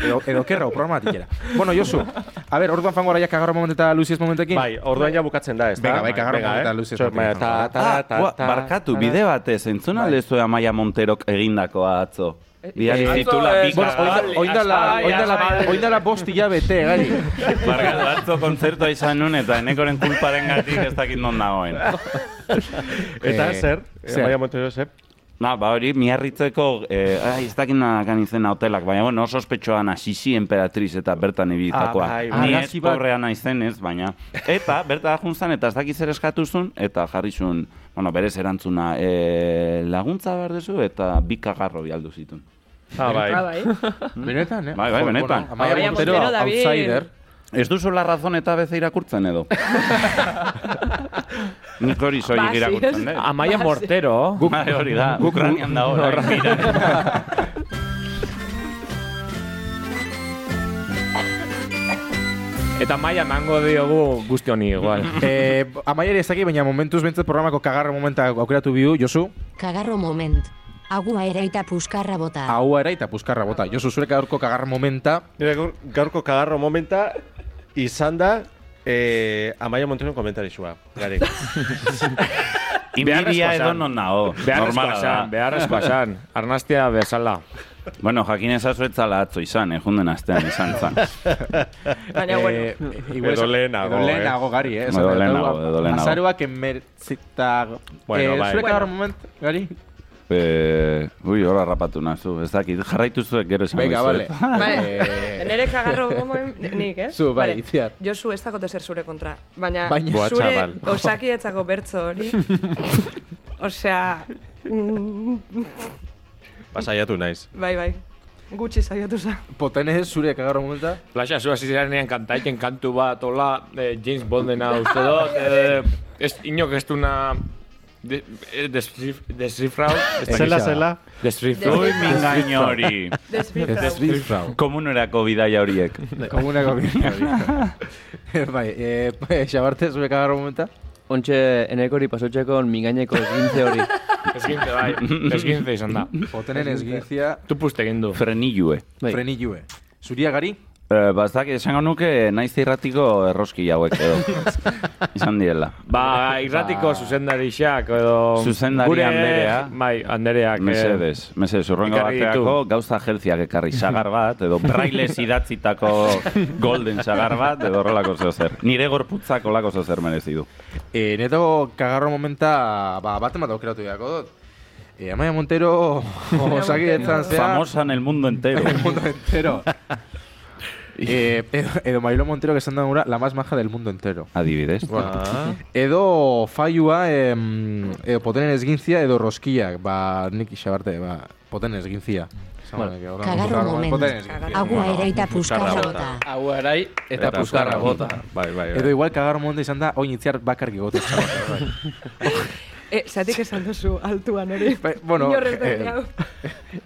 Speaker 2: edo, edo kerrau, programatikera. Bueno, Josu, a ver, orduan fango araiak agarro momentu eta luziez momentekin.
Speaker 1: Bai, orduan ja bukatzen da, ez da?
Speaker 2: Venga, bai, kagarro
Speaker 1: Venga,
Speaker 2: eta
Speaker 1: eh?
Speaker 2: luzez
Speaker 1: Txo, baina, ta, ta,
Speaker 7: Ah,
Speaker 1: ta,
Speaker 7: ua,
Speaker 1: ta,
Speaker 7: barkatu,
Speaker 1: ta,
Speaker 7: bide batez, entzuna lezue Amaia Monterok egindakoa atzo. Bidali
Speaker 2: eh,
Speaker 7: zitula
Speaker 4: atzo, eh,
Speaker 7: pika.
Speaker 2: Bueno, oindala, oindala, oindala, oindala bost hilabete, gari.
Speaker 7: Barkatu, atzo kontzertua izan nun eta enekoren kulparen gatik ez dakit non dagoen.
Speaker 1: Eta
Speaker 2: Eh,
Speaker 1: zer?
Speaker 2: zer?
Speaker 1: Maia Montero, zer?
Speaker 7: Na, ba hori, miarritzeko, eh, ai, ez dakit nakan izena hotelak, baina bueno, oso ospetsuan Asisi Emperatriz eta bertan ibilitakoa.
Speaker 1: Ah, bai,
Speaker 7: Ah,
Speaker 1: bai.
Speaker 7: Ni ez
Speaker 2: Argazki bat-
Speaker 7: pobrea naizen ez, baina. Eta, berta juntzan, eta ez dakit zer eskatuzun, eta jarri zuen, bueno, berez erantzuna, eh, laguntza behar duzu, eta bi kagarro bialdu zitun.
Speaker 1: Ah, bai.
Speaker 3: Ah, bai.
Speaker 2: Benetan, eh?
Speaker 7: Bai, bai,
Speaker 2: Jo,
Speaker 7: benetan.
Speaker 2: bueno, Amaia
Speaker 3: Amaia
Speaker 2: Montero,
Speaker 3: Montero, David.
Speaker 2: outsider.
Speaker 7: Ez duzu la razón eta beze irakurtzen edo. Nik hori
Speaker 3: Ba,
Speaker 7: soilik
Speaker 3: Ah, sí,
Speaker 7: irakurtzen,
Speaker 3: ez-
Speaker 7: dut.
Speaker 4: Amaia
Speaker 3: Base.
Speaker 4: Mortero.
Speaker 7: Guk, hori da, Ukranian da hori.
Speaker 4: Eta maia mango diogu guzti honi igual.
Speaker 2: Eh, Amaia ere ez dakit, baina momentuz bentzat programako kagarro momenta aukeratu biu, Josu,
Speaker 8: Kagarro moment. Agua ereita puskarra bota.
Speaker 2: ahua era eta puskarra bota. Josu, zure gaurko kagarro momenta,
Speaker 1: Nire gaur- gaurko kagarro momenta izan da eh, Amaia Monteron komentarixua. Gari.
Speaker 7: Inbidia
Speaker 4: Beharrezkoa
Speaker 7: edo
Speaker 4: zen.
Speaker 7: non nago.
Speaker 4: Beharrezkoa
Speaker 7: Normala da.
Speaker 4: esan, beharrezkoa esan. Arnaztia bezala.
Speaker 7: Bueno, jakin ezazu etzala atzo izan, eh, junden astean izan zan.
Speaker 3: Baina,
Speaker 2: Eh,
Speaker 3: bueno.
Speaker 2: igual
Speaker 1: Edo
Speaker 2: esan-
Speaker 1: lehenago,
Speaker 2: Edo
Speaker 1: eh.
Speaker 2: lehenago, gari, eh? Esan
Speaker 7: Edo
Speaker 2: behar
Speaker 7: lehenago,
Speaker 2: dugu,
Speaker 7: edo lehenago.
Speaker 2: Azaroak emertzita...
Speaker 1: Bueno,
Speaker 2: eh,
Speaker 1: bai.
Speaker 2: Zure kagarro
Speaker 3: Bueno.
Speaker 2: moment, gari?
Speaker 7: Eh, ui, horra rapatu nazu, ez dakit, jarraitu zuek gero esan
Speaker 2: Venga, vale. Eh,
Speaker 3: Vale. Nere kagarro gomo nik, eh?
Speaker 2: Zu, bai,
Speaker 3: Vale.
Speaker 2: itziar.
Speaker 3: Josu, ez dakote zer zure kontra. Baina,
Speaker 2: Baina- Buah,
Speaker 3: zure
Speaker 2: txabal.
Speaker 3: osakietzako bertzo hori. Osea,
Speaker 1: Pasaiatu naiz.
Speaker 3: bai, bai. Gutxi saiatu za.
Speaker 2: Potenez zure kagarro momenta.
Speaker 4: Plaxa, zu hasi zirenean kantaiken kantu bat, hola, eh, James Bondena uste dut. Eh, ez, inok ez duna de- eh, descif- descifrau...
Speaker 1: Zela, zela.
Speaker 4: Descifrau.
Speaker 7: Ui, mingaino hori.
Speaker 4: Descifrau.
Speaker 7: Komunerako bidaia horiek.
Speaker 2: Komunako Bai, eh, xabarte, zure kagarro momenta.
Speaker 5: Ontxe, enekori pasotxeko mingaineko esgintze hori.
Speaker 4: Esgintze, bai. Esgintze izan da.
Speaker 2: Otenen esgizia,
Speaker 4: Tu puste egin du.
Speaker 7: Frenilue.
Speaker 5: Bai.
Speaker 2: frenilue. Zuria gari?
Speaker 7: Eh, bazak, esango nuke naiz irratiko erroski hauek edo. Izan direla.
Speaker 4: Ba, irratiko zuzendarixak edo...
Speaker 7: Zuzendari
Speaker 4: gure-
Speaker 7: anderea.
Speaker 4: Bai, andereak. eh,
Speaker 7: Mesedez, mesedez, urrengo
Speaker 4: ekarri ditu.
Speaker 7: bateako gauza jelziak ekarri sagar bat, edo brailez idatzitako golden sagar bat, edo horrelako zeo zer. Nire gorputzak olako zeo zer merezi du.
Speaker 2: E, neto kagarro momenta, ba, baten bat aukeratu beharko dut. E, Amaia Montero, osakidetzan zea...
Speaker 7: Famosa en el mundo entero.
Speaker 2: El mundo entero. e, edo, edo Mariló Montero, que esan da gura, la más maja del mundo entero.
Speaker 7: Adibidez.
Speaker 1: Ah,
Speaker 2: Edo faiua, em, edo potenen esgintzia, edo roskiak, ba, nik xabarte, ba, potenen esgintzia.
Speaker 8: Kagarro
Speaker 2: Potenen
Speaker 8: moment.
Speaker 2: esgintzia.
Speaker 8: Agua eraita puskarra bota.
Speaker 5: Hau erai eta
Speaker 7: puzkarra bota.
Speaker 1: Bai, bai,
Speaker 2: Edo
Speaker 1: bai.
Speaker 2: igual kagarro momenta izan da, oin itziar bakarrik gote.
Speaker 3: E, zatik esan duzu altuan hori.
Speaker 2: Bai, bueno,
Speaker 3: Inor ez da
Speaker 2: eh,
Speaker 3: grau.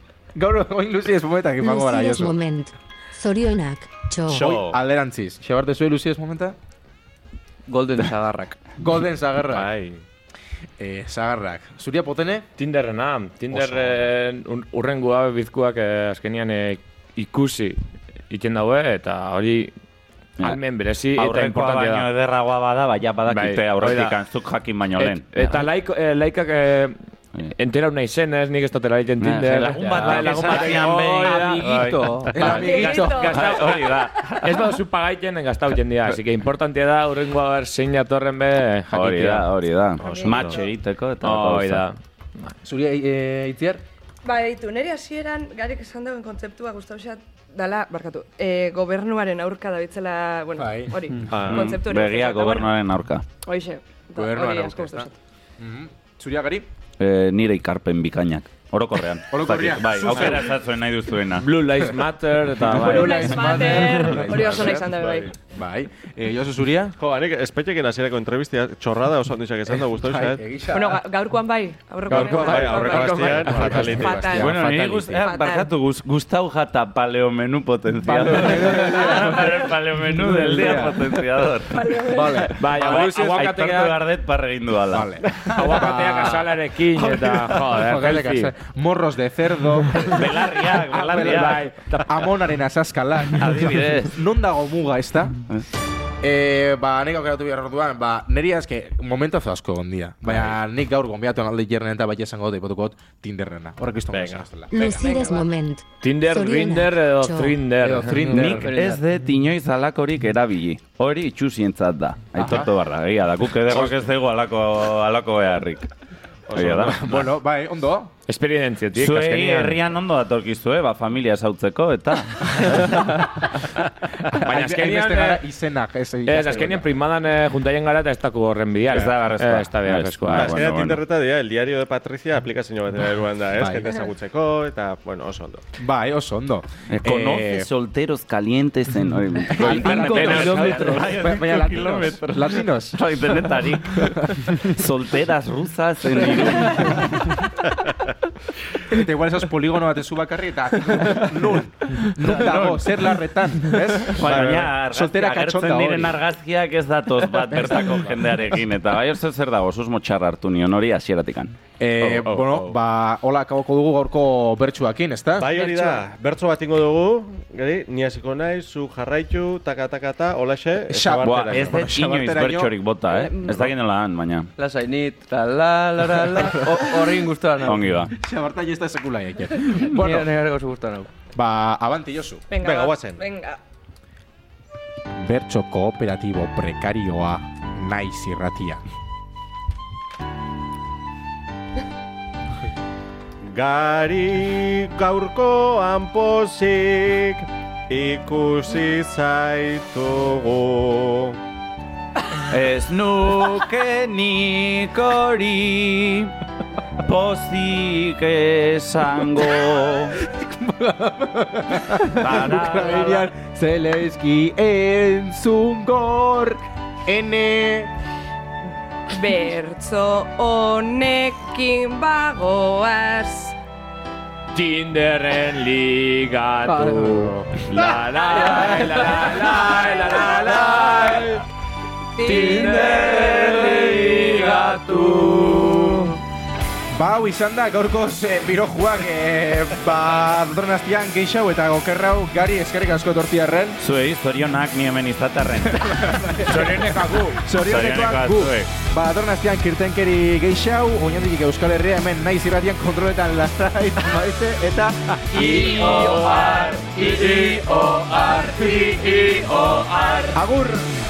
Speaker 2: Gaur, oin luzies momenta, gipango gara,
Speaker 8: Luzidos
Speaker 2: Josu.
Speaker 8: moment. Zorionak, txo.
Speaker 1: Txo.
Speaker 2: Alderantziz, xabarte zuen luzies momenta?
Speaker 5: Golden Sagarrak.
Speaker 3: Bai.
Speaker 2: Golden Zagarrak.
Speaker 1: Bai.
Speaker 2: Eh, Zagarrak. Zuria potene?
Speaker 4: Tinderrena, Tinder
Speaker 2: Oso.
Speaker 4: eh, un- urrengo gabe bizkuak eh, azkenian eh, ikusi iten daue, eta hori
Speaker 7: Ja.
Speaker 4: almen berezi eta
Speaker 7: Aurrekoa
Speaker 4: importantea
Speaker 7: baino
Speaker 4: da.
Speaker 7: ederragoa bada, baina badakite
Speaker 4: Bai,
Speaker 7: aurretik
Speaker 4: hori da.
Speaker 7: antzuk jakin baino
Speaker 4: Et,
Speaker 7: lehen.
Speaker 4: eta laiko, eh, laikak eh, entera nahi zenez, nik ez dutela egiten
Speaker 7: Ja,
Speaker 4: Tinder.
Speaker 7: lagun bat
Speaker 4: Ja,
Speaker 7: batek
Speaker 4: batek,
Speaker 7: esatean
Speaker 4: hori
Speaker 7: behin,
Speaker 4: da,
Speaker 5: amiguito.
Speaker 4: hori.
Speaker 2: El amiguito.
Speaker 7: Bai, Hori da.
Speaker 4: Ez baduzu pagaiten gazta hutien dira, así que importantea da urrengoa ber zein datorren be eh, jakitea.
Speaker 7: Hori da, hori da.
Speaker 3: Oso.
Speaker 7: Match egiteko eta
Speaker 4: Hori da.
Speaker 2: Zuria eh, itziar?
Speaker 3: Ba, eitu, nire hasieran garek esan dagoen kontzeptua gustau xat dala, barkatu, e, gobernuaren aurka dabitzela, bueno,
Speaker 2: Bai.
Speaker 3: hori,
Speaker 1: Ah.
Speaker 3: kontzeptu hori.
Speaker 7: Mm, Begia
Speaker 3: Eta,
Speaker 7: gobernuaren aurka.
Speaker 3: Bueno, hoxe, da,
Speaker 2: Gobernuaren
Speaker 3: hori asko
Speaker 2: aurka,
Speaker 3: gustau
Speaker 2: ezta?
Speaker 3: xat.
Speaker 2: Zuria gari?
Speaker 7: Eh, nire ikarpen bikainak. Orokorrean.
Speaker 2: Orokorrean.
Speaker 7: Bai,
Speaker 2: Zuzen.
Speaker 7: aukera esatzen nahi duzuena.
Speaker 4: Blue Lives Matter eta bai.
Speaker 3: Blue Lives Matter, hori oso nahi izan da, bai.
Speaker 2: Bai. Eh, Josu Zuria?
Speaker 1: Jo, anek, espetxekin hasierako entrevistia txorrada oso handixak esan da, guztu
Speaker 6: Eh.
Speaker 2: Bai,
Speaker 1: izan.
Speaker 2: egisa.
Speaker 3: Bueno, ga- gaurkoan bai, aurreko
Speaker 4: Gaurkoan
Speaker 1: Bai, aurreko bastian,
Speaker 2: Bai.
Speaker 1: fatality.
Speaker 3: Fatal.
Speaker 2: Hostia,
Speaker 7: Bueno, niri
Speaker 2: fatality.
Speaker 7: guz, eh,
Speaker 3: Fatal.
Speaker 7: barkatu guz, gustau jata paleomenu potenciador. paleomenu del día potenciador.
Speaker 2: Vale.
Speaker 4: Bai, aguakateak-
Speaker 7: Aitortu behar dut parre egin duala.
Speaker 2: Vale.
Speaker 4: Aguakateak azalarekin eta joder,
Speaker 2: Jokalek
Speaker 4: healthy.
Speaker 2: ase- Morros de cerdo.
Speaker 7: Belarriak, belarriak.
Speaker 2: Amonaren azazkala.
Speaker 7: Adibidez.
Speaker 2: Non dago muga, ez da? Eh, ba, nik aukeratu behar orduan, ba, niri azke, momentazo asko gondia. Baina nik gaur gombiatu analdi jernen eta bai esango dut, ipotuko dut, tinderrena. Horrek izan
Speaker 1: Venga.
Speaker 2: bezala.
Speaker 8: Luzides moment.
Speaker 4: Tinder,
Speaker 8: Zorionak,
Speaker 4: Grinder edo
Speaker 8: txo.
Speaker 4: Trinder.
Speaker 2: Edo Tinder.
Speaker 7: Nik ez dut inoiz alakorik erabili. Hori itxusientzat da. Aitortu barra, egia da. Guk edegok ez dugu alako, alako beharrik. Egia da.
Speaker 2: Bueno, bai, ondo.
Speaker 4: Esperientziatik,
Speaker 7: Zuei
Speaker 4: azkenian.
Speaker 7: herrian ondo datorkizue, ba, familia sautzeko, eta...
Speaker 4: Baina azkenian...
Speaker 2: Hainbeste gara
Speaker 4: eh,
Speaker 2: izenak. Ez,
Speaker 4: Ez, azkenian primadan eh, juntaien gara eta ez daku horren bidea.
Speaker 7: Ez da beharrezkoa.
Speaker 4: Ez da beharrezkoa.
Speaker 7: Ah, Ez,
Speaker 1: Ba,
Speaker 4: eh.
Speaker 7: bueno,
Speaker 1: Azkena
Speaker 7: bueno.
Speaker 1: tinderreta dira, el diario de Patricia aplikazio bat eruan da, ez?
Speaker 2: Bai.
Speaker 1: Jende ezagutzeko, eta, bueno, oso ondo.
Speaker 2: Bai, oso ondo.
Speaker 7: Conoce
Speaker 2: Eh,
Speaker 7: solteros calientes en... Hori,
Speaker 5: Cinco kilometros.
Speaker 2: Ba- Baina latinos. Latinos.
Speaker 7: Bai, denetarik. Solteras rusas en Irun.
Speaker 2: Eta igual esos poligono batezu bakarri eta nun, nun dago, zer larretan, ez? soltera
Speaker 7: Baina, soltera agertzen
Speaker 2: katxonda hori.
Speaker 7: diren argazkiak ez datoz bat bertako jendearekin. Eta bai, oso zer dago, susmo txarra hartu nion hori hasieratikan.
Speaker 2: Eh,
Speaker 4: Oh, oh,
Speaker 2: bueno,
Speaker 4: oh.
Speaker 2: ba, hola akaboko dugu gaurko bertsuakin, ezta?
Speaker 1: Bai hori da, bertso bat ingo dugu, gari, ni hasiko naiz, zu jarraitu, taka, taka, ta, holaxe,
Speaker 2: Esa-
Speaker 7: Boa,
Speaker 1: ezabarteraino.
Speaker 7: ez dut inoiz
Speaker 2: xabarteraino-
Speaker 7: bertxorik bota, eh? Ez da ginela han, baina.
Speaker 5: Lasai nit, la la la la la. O- Horrein guztua nau.
Speaker 7: Ongi ba.
Speaker 2: Xabarta jo ez da sekula eke.
Speaker 5: Bueno.
Speaker 2: bueno,
Speaker 5: Nire nire gozu guztua nau.
Speaker 2: ba, avanti Josu.
Speaker 3: Venga,
Speaker 1: Venga,
Speaker 3: va,
Speaker 1: guazen.
Speaker 3: bai. Venga.
Speaker 2: Bertso kooperatibo prekarioa naiz irratia.
Speaker 1: ba- Gari gaurkoan pozik ikusi zaitugu.
Speaker 7: Ez nuke nik hori pozik esango.
Speaker 2: Ukrainian Zelensky entzun gor Ene
Speaker 3: Bertzo honekin bagoaz
Speaker 4: Tinderren ligatu. La la la la la la la la. Tinderren ligatu.
Speaker 2: Ba, hau izan da, gaurkoz eh, birojuak, eh, ba, datorren aztian geixau eta gokerrau gari eskerrik asko tortiarren.
Speaker 7: Zuei, zorionak ni hemen izatarren.
Speaker 4: Zorionek agu.
Speaker 2: Zorionekoak
Speaker 7: Zorionekoak
Speaker 2: gu.
Speaker 7: zuek.
Speaker 2: Ba, datorren aztian kirtenkeri geixau, oinandik Euskal Herria hemen naiz irratian kontroletan lasai, maite, eta...
Speaker 4: I-O-R, I-I-O-R, I-I-O-R.
Speaker 2: Agur!